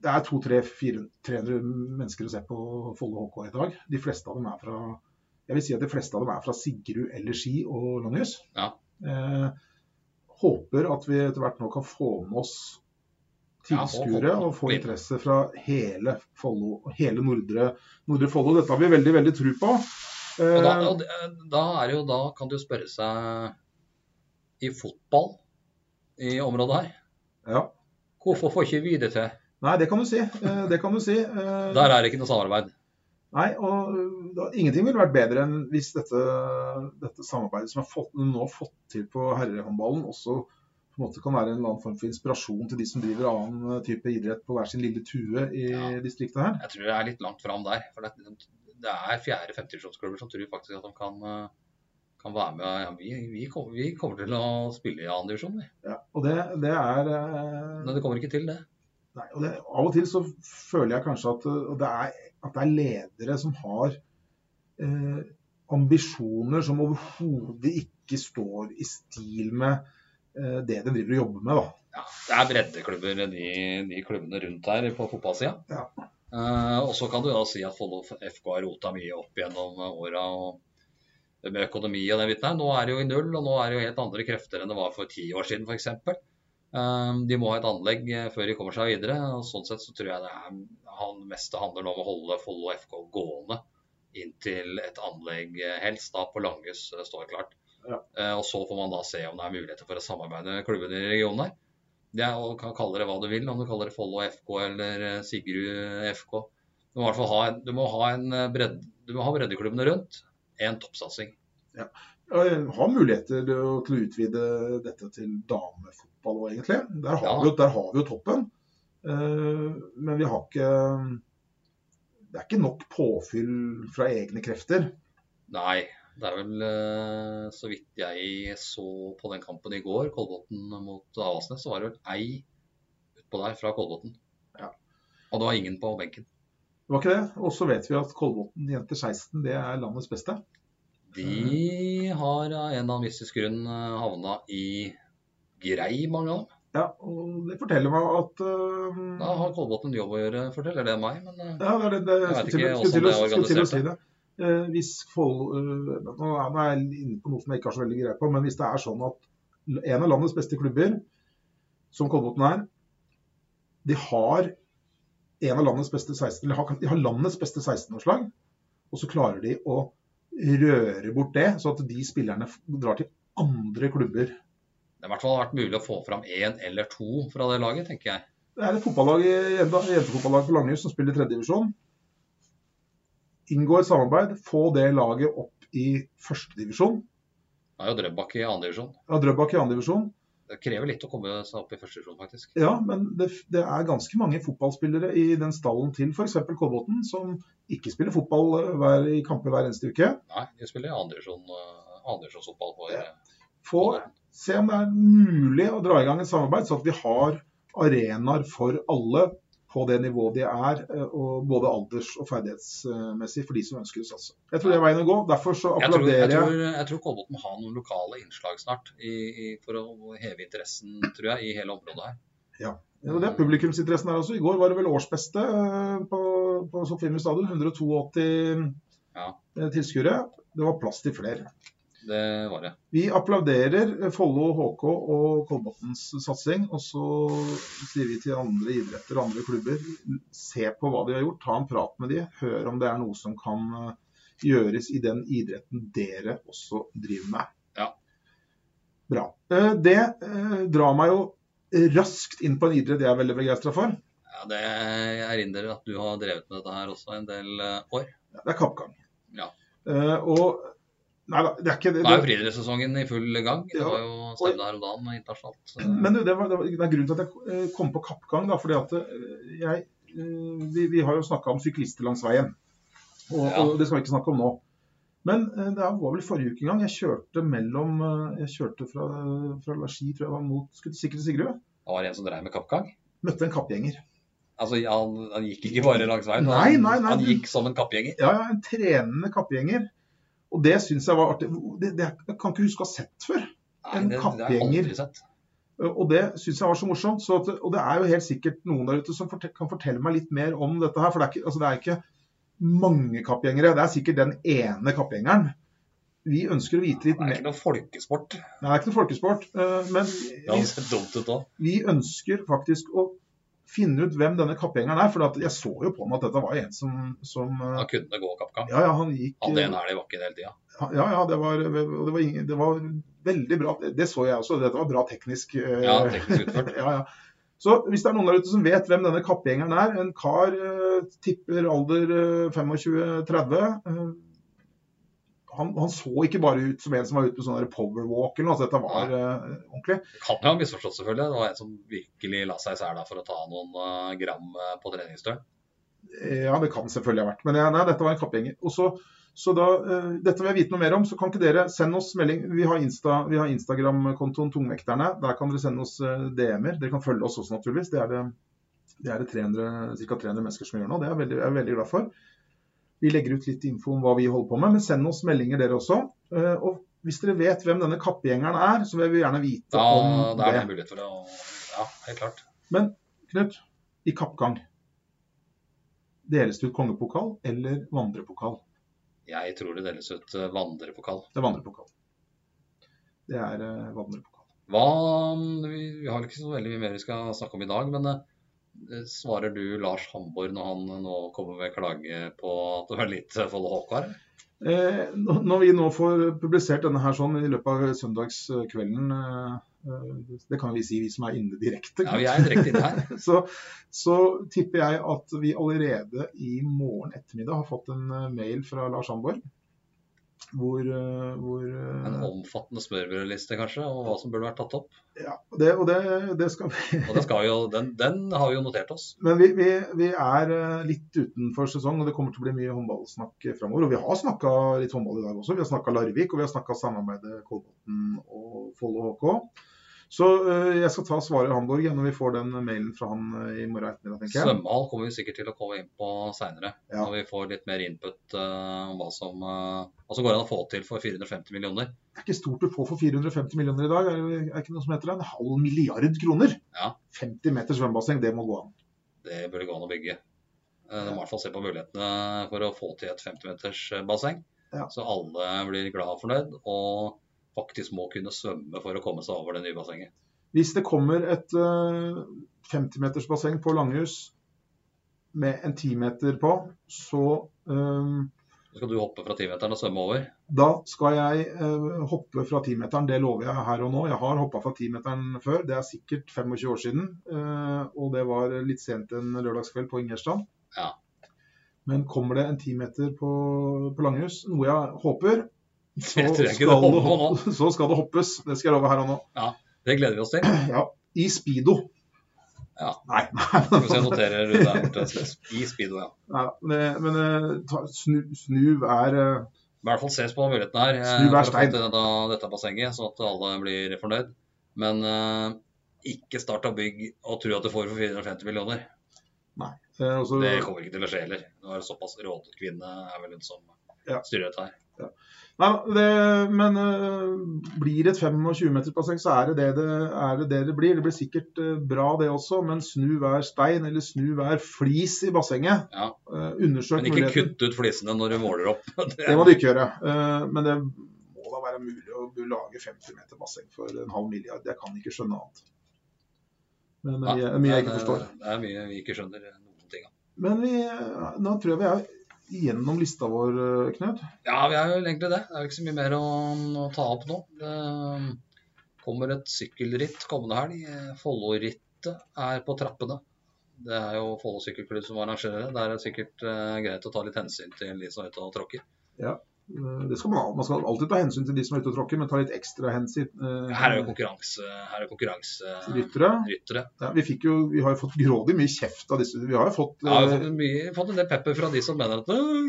[SPEAKER 2] det er 200-300 mennesker å se på Follo HK i dag. De fleste av dem er fra jeg vil si at de fleste av dem er fra Sigrud eller Ski og Langhus.
[SPEAKER 1] Ja.
[SPEAKER 2] Eh, håper at vi etter hvert nå kan få med oss
[SPEAKER 1] Ja, få
[SPEAKER 2] tilskuere
[SPEAKER 1] folk
[SPEAKER 2] og få
[SPEAKER 1] inn.
[SPEAKER 2] interesse fra hele, Follo, hele Nordre, Nordre Follo. Dette har vi veldig, veldig tro på. Eh,
[SPEAKER 1] Og da, og det- da, er det jo, da kan du spørre seg i fotball i området her.
[SPEAKER 2] Ja.
[SPEAKER 1] Hvorfor får ikke vi det til?
[SPEAKER 2] Nei, det kan du si. Eh, Det kan du si. Eh,
[SPEAKER 1] Der er det ikke noe samarbeid.
[SPEAKER 2] Nei, og eh, da, Ingenting ville vært bedre enn hvis dette, dette samarbeidet som er fått, nå har fått til på herrehåndballen, også på en måte kan være en eller annen form for inspirasjon til de som driver annen eh, type idrett på hver sin lille tue i
[SPEAKER 1] Ja.
[SPEAKER 2] distriktet her.
[SPEAKER 1] Jeg tror det er litt langt fram der. For det, det er fjerde- femtivisjonsklubber som tror faktisk at de kan, eh, kan være med. Ja, vi, vi, kommer, vi kommer til å spille i annen divisjon, vi.
[SPEAKER 2] Ja. Og det, det er eh,
[SPEAKER 1] Men det kommer ikke til, det.
[SPEAKER 2] Nei, og det, Av og til så føler jeg kanskje at, uh, og det, er, at det er ledere som har eh, ambisjoner som overhodet ikke står i stil med eh, det de driver og jobber med. da.
[SPEAKER 1] Ja, det er breddeklubber, de, de klubbene rundt her på fotballsida.
[SPEAKER 2] Ja.
[SPEAKER 1] Eh, og så kan du da si at Follo FK har rota mye opp gjennom åra og det med økonomi og den biten her. Nå er det jo i null, og nå er det jo helt andre krefter enn det var for ti år siden f.eks. Eh, de må ha et anlegg eh, før de kommer seg videre. og Sånn sett så tror jeg det er, han meste handler nå om å holde Follo FK gående inntil et anlegg eh, helst da på Langhus eh, står klart.
[SPEAKER 2] Ja.
[SPEAKER 1] Eh, og så får man da se om det er muligheter for å samarbeide med klubbene i regionen her. Det er, og kan kalle det hva du vil, om du kaller det Follo FK eller eh, Sigrud FK. Du må i hvert fall ha, en- du må ha, en eh, bredd, du må ha breddeklubbene rundt. En toppsatsing.
[SPEAKER 2] Og jeg har muligheter til å, til å utvide dette til damefotball òg, egentlig. Der har,
[SPEAKER 1] Ja.
[SPEAKER 2] vi, jo- der har vi jo toppen. Eh, men vi har ikke Det er ikke nok påfyll fra egne krefter.
[SPEAKER 1] Nei, det er vel eh, så vidt jeg så på den kampen i går, Kolbotn mot Avaldsnes, så var det vel ei utpå der fra Kolbotn.
[SPEAKER 2] Ja.
[SPEAKER 1] Og det var ingen på benken.
[SPEAKER 2] Det var ikke det. Og så vet vi at Kolbotn jenter 16 det er landets beste.
[SPEAKER 1] De har av en eller annen mystisk grunn eh, havna i grei, mange av dem.
[SPEAKER 2] Ja, og det forteller meg at øhm,
[SPEAKER 1] Da har Kolbotn en jobb å gjøre, forteller det meg. men... eh,
[SPEAKER 2] ja, det er det, det,
[SPEAKER 1] Jeg
[SPEAKER 2] jeg
[SPEAKER 1] vet
[SPEAKER 2] skulle til,
[SPEAKER 1] ikke
[SPEAKER 2] skulle til, å-
[SPEAKER 1] hvordan det er
[SPEAKER 2] skulle til å si
[SPEAKER 1] organisert,
[SPEAKER 2] det. Eh, hvis Fold, eh, nå er nå er jeg inne på noe som jeg ikke har så veldig greie på, men hvis det er sånn at en av landets beste klubber, som Kolbotn er, de har en av landets beste 16, eller har, de har landets beste 16-årslag, og så klarer de å røre bort det, så at de spillerne f- drar til andre klubber
[SPEAKER 1] Det har i hvert fall vært mulig å få fram én eller to fra det laget, tenker jeg.
[SPEAKER 2] Det er et fotballag, jente- jentefotballag på Langhus som spiller i tredjedivisjon. Inngå et samarbeid, få det laget opp i førstedivisjon.
[SPEAKER 1] Det er jo Drøbak i andre divisjon.
[SPEAKER 2] Ja, Drøbak i andredivisjon.
[SPEAKER 1] Det krever litt å komme seg opp i første divisjon, faktisk.
[SPEAKER 2] Ja, men det, det er ganske mange fotballspillere i den stallen til f.eks. Kolbotn som ikke spiller fotball eh, hver, i kamper hver eneste uke.
[SPEAKER 1] Nei, de spiller i andre divisjon, eh, andre divisjonsfotball for eh,
[SPEAKER 2] Få se om det er mulig å dra i gang et samarbeid, så at vi har arenaer for alle på det nivået de er, eh, og både alders- og ferdighetsmessig for de som ønsker å satse. Jeg tror det er veien å gå. Derfor så
[SPEAKER 1] Jeg tror, jeg
[SPEAKER 2] applauderer jeg.
[SPEAKER 1] tror, jeg tror Kolbotn må ha noen lokale innslag snart i, i, for å heve interessen tror jeg, i hele området her.
[SPEAKER 2] Og det er publikumsinteressen her også. I går var det vel årsbeste eh, på, på Sofiemyr stadion. 182
[SPEAKER 1] Ja.
[SPEAKER 2] eh, tilskuere. Det var plass til flere.
[SPEAKER 1] Det var det.
[SPEAKER 2] Vi applauderer Follo HK og Kolbotns satsing. Og så sier vi til andre idretter og andre klubber, se på hva de har gjort. Ta en prat med de. Hør om det er noe som kan eh, gjøres i den idretten dere også driver med.
[SPEAKER 1] Ja.
[SPEAKER 2] Bra. Eh, Det eh, drar meg jo raskt inn på en idrett jeg er veldig begeistra for.
[SPEAKER 1] Ja, det jeg erindrer at du har drevet med dette her også en del eh, år.
[SPEAKER 2] Det er kappgang.
[SPEAKER 1] Ja.
[SPEAKER 2] Eh, Og Nei da, det er ikke det.
[SPEAKER 1] Da er jo friidrettssesongen i full gang. Det var jo stevne her om dagen internasjonalt. så-
[SPEAKER 2] Men du, det var, det var det er grunnen til at jeg eh, kom på kappgang. Da, fordi at eh, jeg, eh, vi, vi har jo snakka om syklister langs veien, og,
[SPEAKER 1] Ja.
[SPEAKER 2] og det skal vi ikke snakke om nå. Men eh, det var vel forrige uke en gang. Jeg kjørte mellom eh, Jeg kjørte fra, fra La Ski, tror jeg var mot skulle sikkert til Sigrud.
[SPEAKER 1] Det var en som drev med kappgang.
[SPEAKER 2] Møtte en kappgjenger.
[SPEAKER 1] Altså, han, han gikk ikke bare langs veien.
[SPEAKER 2] Nei,
[SPEAKER 1] han-
[SPEAKER 2] nei, nei,
[SPEAKER 1] Han
[SPEAKER 2] du-
[SPEAKER 1] gikk som en kappgjenger.
[SPEAKER 2] Ja, ja, en trenende kappgjenger. Og det syns jeg var artig. Det, det, jeg kan ikke huske å ha sett før.
[SPEAKER 1] Nei,
[SPEAKER 2] En
[SPEAKER 1] det- det har jeg
[SPEAKER 2] kappgjenger.
[SPEAKER 1] aldri sett.
[SPEAKER 2] Eh, Og det syns jeg var så morsomt. Så at, og det er jo helt sikkert noen der ute som fortel, kan fortelle meg litt mer om dette her. For det er ikke, altså det er ikke mange kappgjengere. Det er sikkert den ene kappgjengeren. Vi ønsker å vite
[SPEAKER 1] Det
[SPEAKER 2] litt
[SPEAKER 1] er
[SPEAKER 2] mer.
[SPEAKER 1] ikke noe folkesport.
[SPEAKER 2] Det er ikke noe folkesport. eh, Men
[SPEAKER 1] Det hadde
[SPEAKER 2] vi,
[SPEAKER 1] sett dumt ut òg.
[SPEAKER 2] vi ønsker faktisk å finne ut hvem denne kappgjengeren er. For at jeg så jo på ham at dette var en som, som eh,
[SPEAKER 1] Han kunne gå kappgang.
[SPEAKER 2] Ja, ja, han gikk eh,
[SPEAKER 1] Hadde en hæl i bakken hele tida.
[SPEAKER 2] Ja, ja, det var, og det var, ingen, det var veldig bra. Det så jeg også. Dette var bra teknisk. eh,
[SPEAKER 1] Ja, teknisk utført.
[SPEAKER 2] ja, ja. Så hvis det er noen der ute som vet hvem denne kappgjengeren er, en kar eh, tipper alder eh, 25-30 eh, han, han så ikke bare ut som en som var ute på sånn der power walk eller noe, så dette var eh, ordentlig.
[SPEAKER 1] Det kan jo ha misforstått, selvfølgelig. Det var en som virkelig la seg i sela for å ta noen eh, gram eh, på treningsdøren.
[SPEAKER 2] Eh, Ja, det kan selvfølgelig ha vært, men ja, nei, dette var en kappgjenger. Og så, så da, eh, dette vil jeg vite noe mer om, så kan ikke dere sende oss melding. Vi har, Insta, vi har Instagram-kontoen Tungvekterne. Der kan dere sende oss eh, DM-er. Dere kan følge oss også, naturligvis. Det er det, det, er det 300, ca. 300 mennesker som gjør nå. Det er jeg veldig, jeg er veldig glad for. Vi legger ut litt info om hva vi holder på med, men send oss meldinger dere også. Eh, Og hvis dere vet hvem denne kappgjengeren er, så vil vi gjerne vite
[SPEAKER 1] Da,
[SPEAKER 2] om
[SPEAKER 1] da er det
[SPEAKER 2] det.
[SPEAKER 1] mulighet for å Ja, helt klart.
[SPEAKER 2] Knut, i kappgang. Deles det ut kongepokal eller vandrepokal?
[SPEAKER 1] Jeg tror det deles ut eh, vandrerpokal.
[SPEAKER 2] Det er vandrepokal. Det er eh, vandrepokal.
[SPEAKER 1] Hva Vi vi har ikke så veldig mye mer vi skal snakke om i dag, men eh, svarer du Lars Hamborg når han eh, nå kommer med klage på at det var lite Follo HK her?
[SPEAKER 2] Eh, nå- når vi nå får publisert denne her sånn i løpet av søndagskvelden eh, eh, Det kan vi si, vi som er inne direkte.
[SPEAKER 1] Ja, vi er direkte inne her.
[SPEAKER 2] Så, så tipper jeg at vi allerede i morgen ettermiddag har fått en eh, mail fra Lars Hamborg. Hvor, eh, hvor eh,
[SPEAKER 1] En omfattende smørbrødliste, kanskje, og hva som burde vært tatt opp.
[SPEAKER 2] ja, det, Og det, det skal vi
[SPEAKER 1] Og det skal jo, den, den har vi jo notert oss.
[SPEAKER 2] Men vi, vi, vi er eh, litt utenfor sesong, og det kommer til å bli mye håndballsnakk framover. Og vi har snakka litt håndball i dag også. Vi har snakka Larvik, og vi har snakka samarbeidet Kolbotn og Follo HK. Så eh, jeg skal ta svaret Hamburg når vi får den mailen fra han eh, i morgen ettermiddag, tenker jeg.
[SPEAKER 1] Svømmehall kommer vi sikkert til å komme inn på seinere,
[SPEAKER 2] Ja.
[SPEAKER 1] når vi får litt mer input eh, om hva som, eh, hva som går an å få til for 450 millioner.
[SPEAKER 2] Det er ikke stort du får for 450 millioner i dag. Er det er ikke noe som heter det? En halv milliard kroner?
[SPEAKER 1] Ja.
[SPEAKER 2] 50 meter svømmebasseng, det må gå an.
[SPEAKER 1] Det burde gå an å bygge. Eh, De må i hvert fall se på mulighetene for å få til et 50-meters basseng.
[SPEAKER 2] Ja.
[SPEAKER 1] Så alle blir glad og fornøyd, og faktisk må kunne svømme for å komme seg over det nye bassenget.
[SPEAKER 2] Hvis det kommer et eh, 50-metersbasseng på Langhus med en 10-meter på, så eh,
[SPEAKER 1] Så skal du hoppe fra 10-meteren og svømme over.
[SPEAKER 2] Da skal jeg eh, hoppe fra 10-meteren, det lover jeg her og nå. Jeg har hoppa fra 10-meteren før, det er sikkert 25 år siden. eh, og det var litt sent en lørdagskveld på Ingerstrand.
[SPEAKER 1] Ja.
[SPEAKER 2] Men kommer det en 10-meter på, på Langhus, noe jeg håper, så
[SPEAKER 1] Jeg tror ikke det
[SPEAKER 2] skal, det
[SPEAKER 1] holder på nå.
[SPEAKER 2] hopp- [LAUGHS] så skal det hoppes. Det skal jeg love her og nå.
[SPEAKER 1] Det gleder vi oss til.
[SPEAKER 2] Ja, I speedo.
[SPEAKER 1] Ja.
[SPEAKER 2] Nei, nei,
[SPEAKER 1] Skal vi se, jeg
[SPEAKER 2] [LAUGHS]
[SPEAKER 1] noterer Rune her borte. I speedo, ja.
[SPEAKER 2] nei, men- men eh, ta, snu, snuv er eh,
[SPEAKER 1] Men i hvert fall ses på muligheten her. eh,
[SPEAKER 2] Snu hver
[SPEAKER 1] for å få
[SPEAKER 2] stein.
[SPEAKER 1] til Dette, dette bassenget, sånn at alle blir fornøyd. Men eh, ikke start å bygge og tro at du får for 450 millioner.
[SPEAKER 2] eh, også-
[SPEAKER 1] Det kommer ikke til å skje heller. Nå er det såpass rådkvinne er vel hun som
[SPEAKER 2] Ja.
[SPEAKER 1] styrer dette her.
[SPEAKER 2] Nei, det, men øh, blir det et 25-metersbasseng, så er det det det, er det det det blir. Det blir sikkert øh, bra det også, men snu hver stein eller snu hver flis i bassenget.
[SPEAKER 1] Ja.
[SPEAKER 2] Øh, undersøk
[SPEAKER 1] Men ikke
[SPEAKER 2] muligheten.
[SPEAKER 1] kutt ut flisene når du måler opp. [LAUGHS] Det
[SPEAKER 2] Det må du ikke gjøre. Øh, men det må må da være mulig å lage 50 meter basseng for en halv milliard. Jeg kan ikke skjønne annet. Men det er mye, mye jeg ikke forstår.
[SPEAKER 1] Det er mye vi ikke skjønner noen ting av.
[SPEAKER 2] Men vi, nå tror jeg vi er gjennom lista vår, eh, Knut.
[SPEAKER 1] Ja, vi er jo egentlig det. Det er jo ikke så mye mer å, å ta opp nå. Det kommer et sykkelritt kommende helg. Follorittet er på trappene. Det er jo Follo sykkelklubb som arrangerer det. Der er det sikkert eh, greit å ta litt hensyn til de som er ute og tråkker.
[SPEAKER 2] Ja, eh, det skal man, ha. man skal alltid ta hensyn til de som er ute og tråkker, men ta litt ekstra hensyn. eh,
[SPEAKER 1] Her er jo konkurranse, her er konkurranse
[SPEAKER 2] til ryttere.
[SPEAKER 1] ryttere.
[SPEAKER 2] Ja, vi, fikk jo, vi har jo fått grådig mye kjeft av disse. Vi har jo fått
[SPEAKER 1] Jeg har jo
[SPEAKER 2] eh,
[SPEAKER 1] fått, en mye, fått en del pepper fra de som mener at «Øh,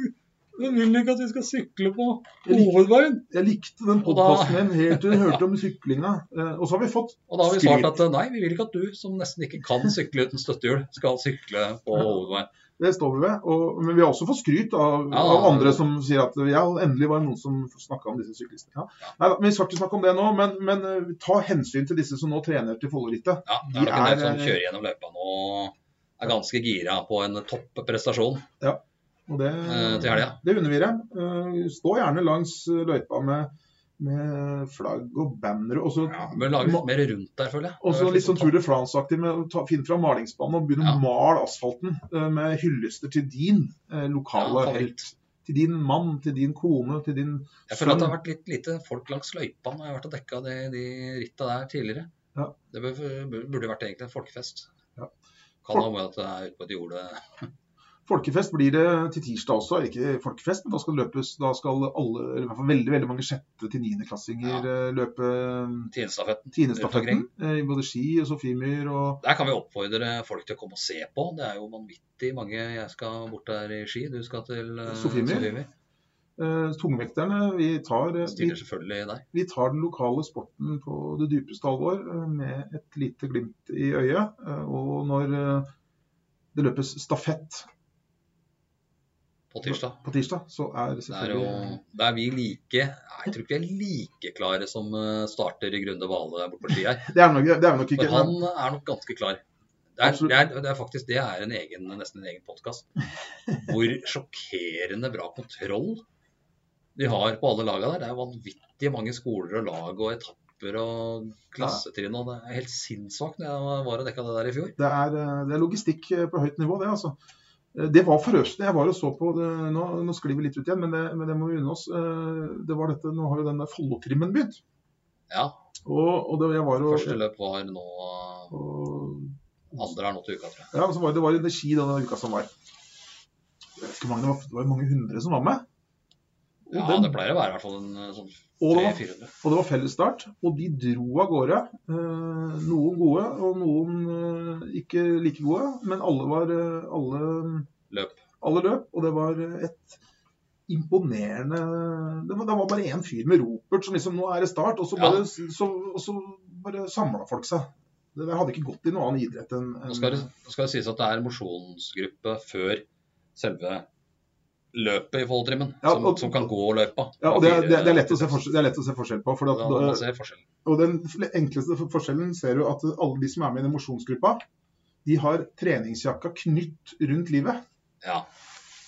[SPEAKER 1] jeg vil ikke at vi skal sykle på hovedveien.
[SPEAKER 2] Jeg likte den
[SPEAKER 1] Og da-
[SPEAKER 2] podkasten din helt til du hørte om syklinga. Eh, Og så har vi fått
[SPEAKER 1] Og da har vi svart at eh, nei, vi vil ikke at du som nesten ikke kan sykle uten støttehjul, skal sykle på hovedveien.
[SPEAKER 2] Det står vi ved. Og, men vi har også fått skryt av,
[SPEAKER 1] Ja.
[SPEAKER 2] av andre som sier at ja, endelig var det noen som snakka om disse syklistene. Ja. Neida, men vi skal ikke snakke om det nå, men, men eh, ta hensyn til disse som nå trener til Follorittet.
[SPEAKER 1] Ja, det
[SPEAKER 2] De
[SPEAKER 1] er nok en
[SPEAKER 2] er,
[SPEAKER 1] del som
[SPEAKER 2] eh,
[SPEAKER 1] kjører gjennom løypa nå og er ganske gira på en topp prestasjon
[SPEAKER 2] Og det,
[SPEAKER 1] eh, til helga.
[SPEAKER 2] det unner vi dem. Eh, Stå gjerne langs eh, løypa med, med flagg og banner. Og så
[SPEAKER 1] Ja, Bør lage litt mer rundt der, føler jeg.
[SPEAKER 2] Og så litt sånn
[SPEAKER 1] Topp-
[SPEAKER 2] Tour de France-aktig med å ta, finne fram malingsbanen og begynne
[SPEAKER 1] Ja.
[SPEAKER 2] å male asfalten eh, med hyllester til din eh, lokale
[SPEAKER 1] Ja, favoritt.
[SPEAKER 2] helt. Til din mann, til din kone, til din
[SPEAKER 1] Jeg føler at det har vært litt lite folk langs løypa når jeg har vært og dekka de, de ritta der tidligere.
[SPEAKER 2] Ja.
[SPEAKER 1] Det bør- burde vært egentlig en folkefest.
[SPEAKER 2] Ja.
[SPEAKER 1] Kan ha med at det er ute på et jorde
[SPEAKER 2] Folkefest blir det til tirsdag også, ikke folkefest, men da skal det løpes Da skal alle, eller i hvert fall veldig veldig mange sjette- til niendeklassinger eh, løpe
[SPEAKER 1] Tienstafetten.
[SPEAKER 2] tiendestafetten. eh, I både Ski og Sofiemyr og
[SPEAKER 1] Der kan vi oppfordre folk til å komme og se på. Det er jo vanvittig mange. Jeg skal bort der i Ski, du skal til eh,
[SPEAKER 2] Sofiemyr. eh, tungvekterne. Vi tar, eh, vi,
[SPEAKER 1] Stiller selvfølgelig der.
[SPEAKER 2] vi tar den lokale sporten på det dypeste alvor eh, med et lite glimt i øyet. eh, Og når eh, det løpes stafett
[SPEAKER 1] På tirsdag.
[SPEAKER 2] på tirsdag, så er
[SPEAKER 1] Det er jo
[SPEAKER 2] selvfølgelig
[SPEAKER 1] det er vi like Nei, Jeg tror ikke vi er like klare som eh, starter i Grunde Vale borte på Ski her.
[SPEAKER 2] Det er nok, det er nok ikke
[SPEAKER 1] For han er nok ganske klar. Det er,
[SPEAKER 2] Absolutt.
[SPEAKER 1] det er, det er faktisk det er en egen, nesten en egen podkast. Hvor sjokkerende bra kontroll de har på alle laga der. Det er vanvittig mange skoler og lag og etapper og klassetrinn. Og det er helt sinnssvakt når jeg var og dekka det der i fjor.
[SPEAKER 2] Det er, eh, det er logistikk eh, på høyt nivå, det. altså. Eh, Det var forøsende. Jeg var og så på det, Nå, nå sklir vi litt ut igjen, men det, men det må vi unne oss. Eh, Det var dette, Nå har jo den der Follo-trimmen begynt.
[SPEAKER 1] Ja,
[SPEAKER 2] Og, og det, jeg var og,
[SPEAKER 1] Første løp var nå
[SPEAKER 2] og
[SPEAKER 1] Andre er nå til uka, tror jeg.
[SPEAKER 2] Ja, så var det, det var energi denne uka som var. Jeg vet ikke hvor mange det var, det var jo mange hundre som var med. Og,
[SPEAKER 1] Ja,
[SPEAKER 2] den-
[SPEAKER 1] det pleier å være i hvert fall en eh, sånn
[SPEAKER 2] og det var
[SPEAKER 1] 300-400.
[SPEAKER 2] Og det var fellesstart, og de dro av gårde. Eh, noen gode, og noen eh, ikke like gode. Men alle var eh, alle,
[SPEAKER 1] Løp.
[SPEAKER 2] alle løp, og det var eh, et imponerende Det var, det var bare én fyr med ropert som liksom Nå er det start, og så
[SPEAKER 1] Ja.
[SPEAKER 2] bare, så, og så bare samla folk seg. Det der hadde ikke gått i noen annen idrett enn enn-
[SPEAKER 1] Nå skal det, nå skal det sies at det er en mosjonsgruppe før selve løpet i Folldrimmen,
[SPEAKER 2] Ja,
[SPEAKER 1] som,
[SPEAKER 2] og-
[SPEAKER 1] som kan gå løypa.
[SPEAKER 2] ja, og det, er- det, er- det, er lett å se forskjell, det er lett å se forskjell på. Fordi
[SPEAKER 1] Da må man
[SPEAKER 2] at,
[SPEAKER 1] se forskjell.
[SPEAKER 2] og den enkleste forskjellen ser du at alle de som er med i den mosjonsgruppa, de har treningsjakka knytt rundt livet.
[SPEAKER 1] Ja,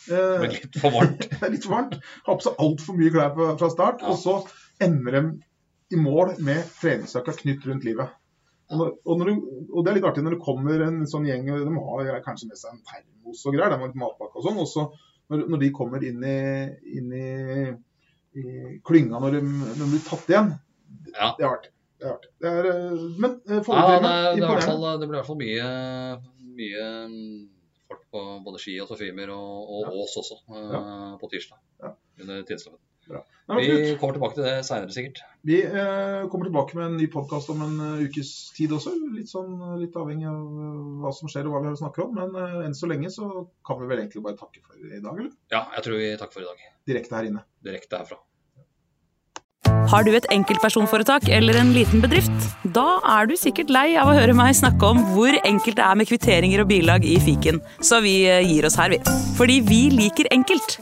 [SPEAKER 1] det
[SPEAKER 2] Eh,
[SPEAKER 1] blir litt for
[SPEAKER 2] [LAUGHS]
[SPEAKER 1] varmt.
[SPEAKER 2] det er litt varmt. Har på seg altfor mye klær på- fra start.
[SPEAKER 1] Ja.
[SPEAKER 2] Og så ender de i mål med treningsjakka knytt rundt livet. Og, når, og, når du, og det er litt artig når det kommer en sånn gjeng De har kanskje med seg en termos og greier. De har litt matpakke og sånn. Og så når, når de kommer inn i, inn i, i klynga når de, når de blir tatt igjen,
[SPEAKER 1] Ja.
[SPEAKER 2] det er artig. Det er artig. Det er, eh, men eh,
[SPEAKER 1] Ja, det,
[SPEAKER 2] forholdene
[SPEAKER 1] er- det, er i hvert
[SPEAKER 2] imponerende.
[SPEAKER 1] fall, det blir i hvert fall mye, mye mm, folk på både Ski og Sofiemer og, og
[SPEAKER 2] Ja.
[SPEAKER 1] Ås også eh, på tirsdag.
[SPEAKER 2] Ja.
[SPEAKER 1] Under tidsloven.
[SPEAKER 2] Nei, men Knut,
[SPEAKER 1] Vi kommer tilbake til det seinere, sikkert.
[SPEAKER 2] Vi eh, kommer tilbake med en ny podkast om en eh, ukes tid også. Litt, sånn, eh, litt avhengig av eh, hva som skjer og hva vi har å snakke om. Men eh, enn så lenge så kan vi vel egentlig bare takke for i dag, eller?
[SPEAKER 1] Ja, jeg tror vi takker for i dag.
[SPEAKER 2] Direkte her inne.
[SPEAKER 1] Direkte herfra.
[SPEAKER 3] Har du et enkeltpersonforetak eller en liten bedrift? Da er du sikkert lei av å høre meg snakke om hvor enkelt det er med kvitteringer og bilag i fiken, så vi eh, gir oss her, vi. Fordi vi liker enkelt.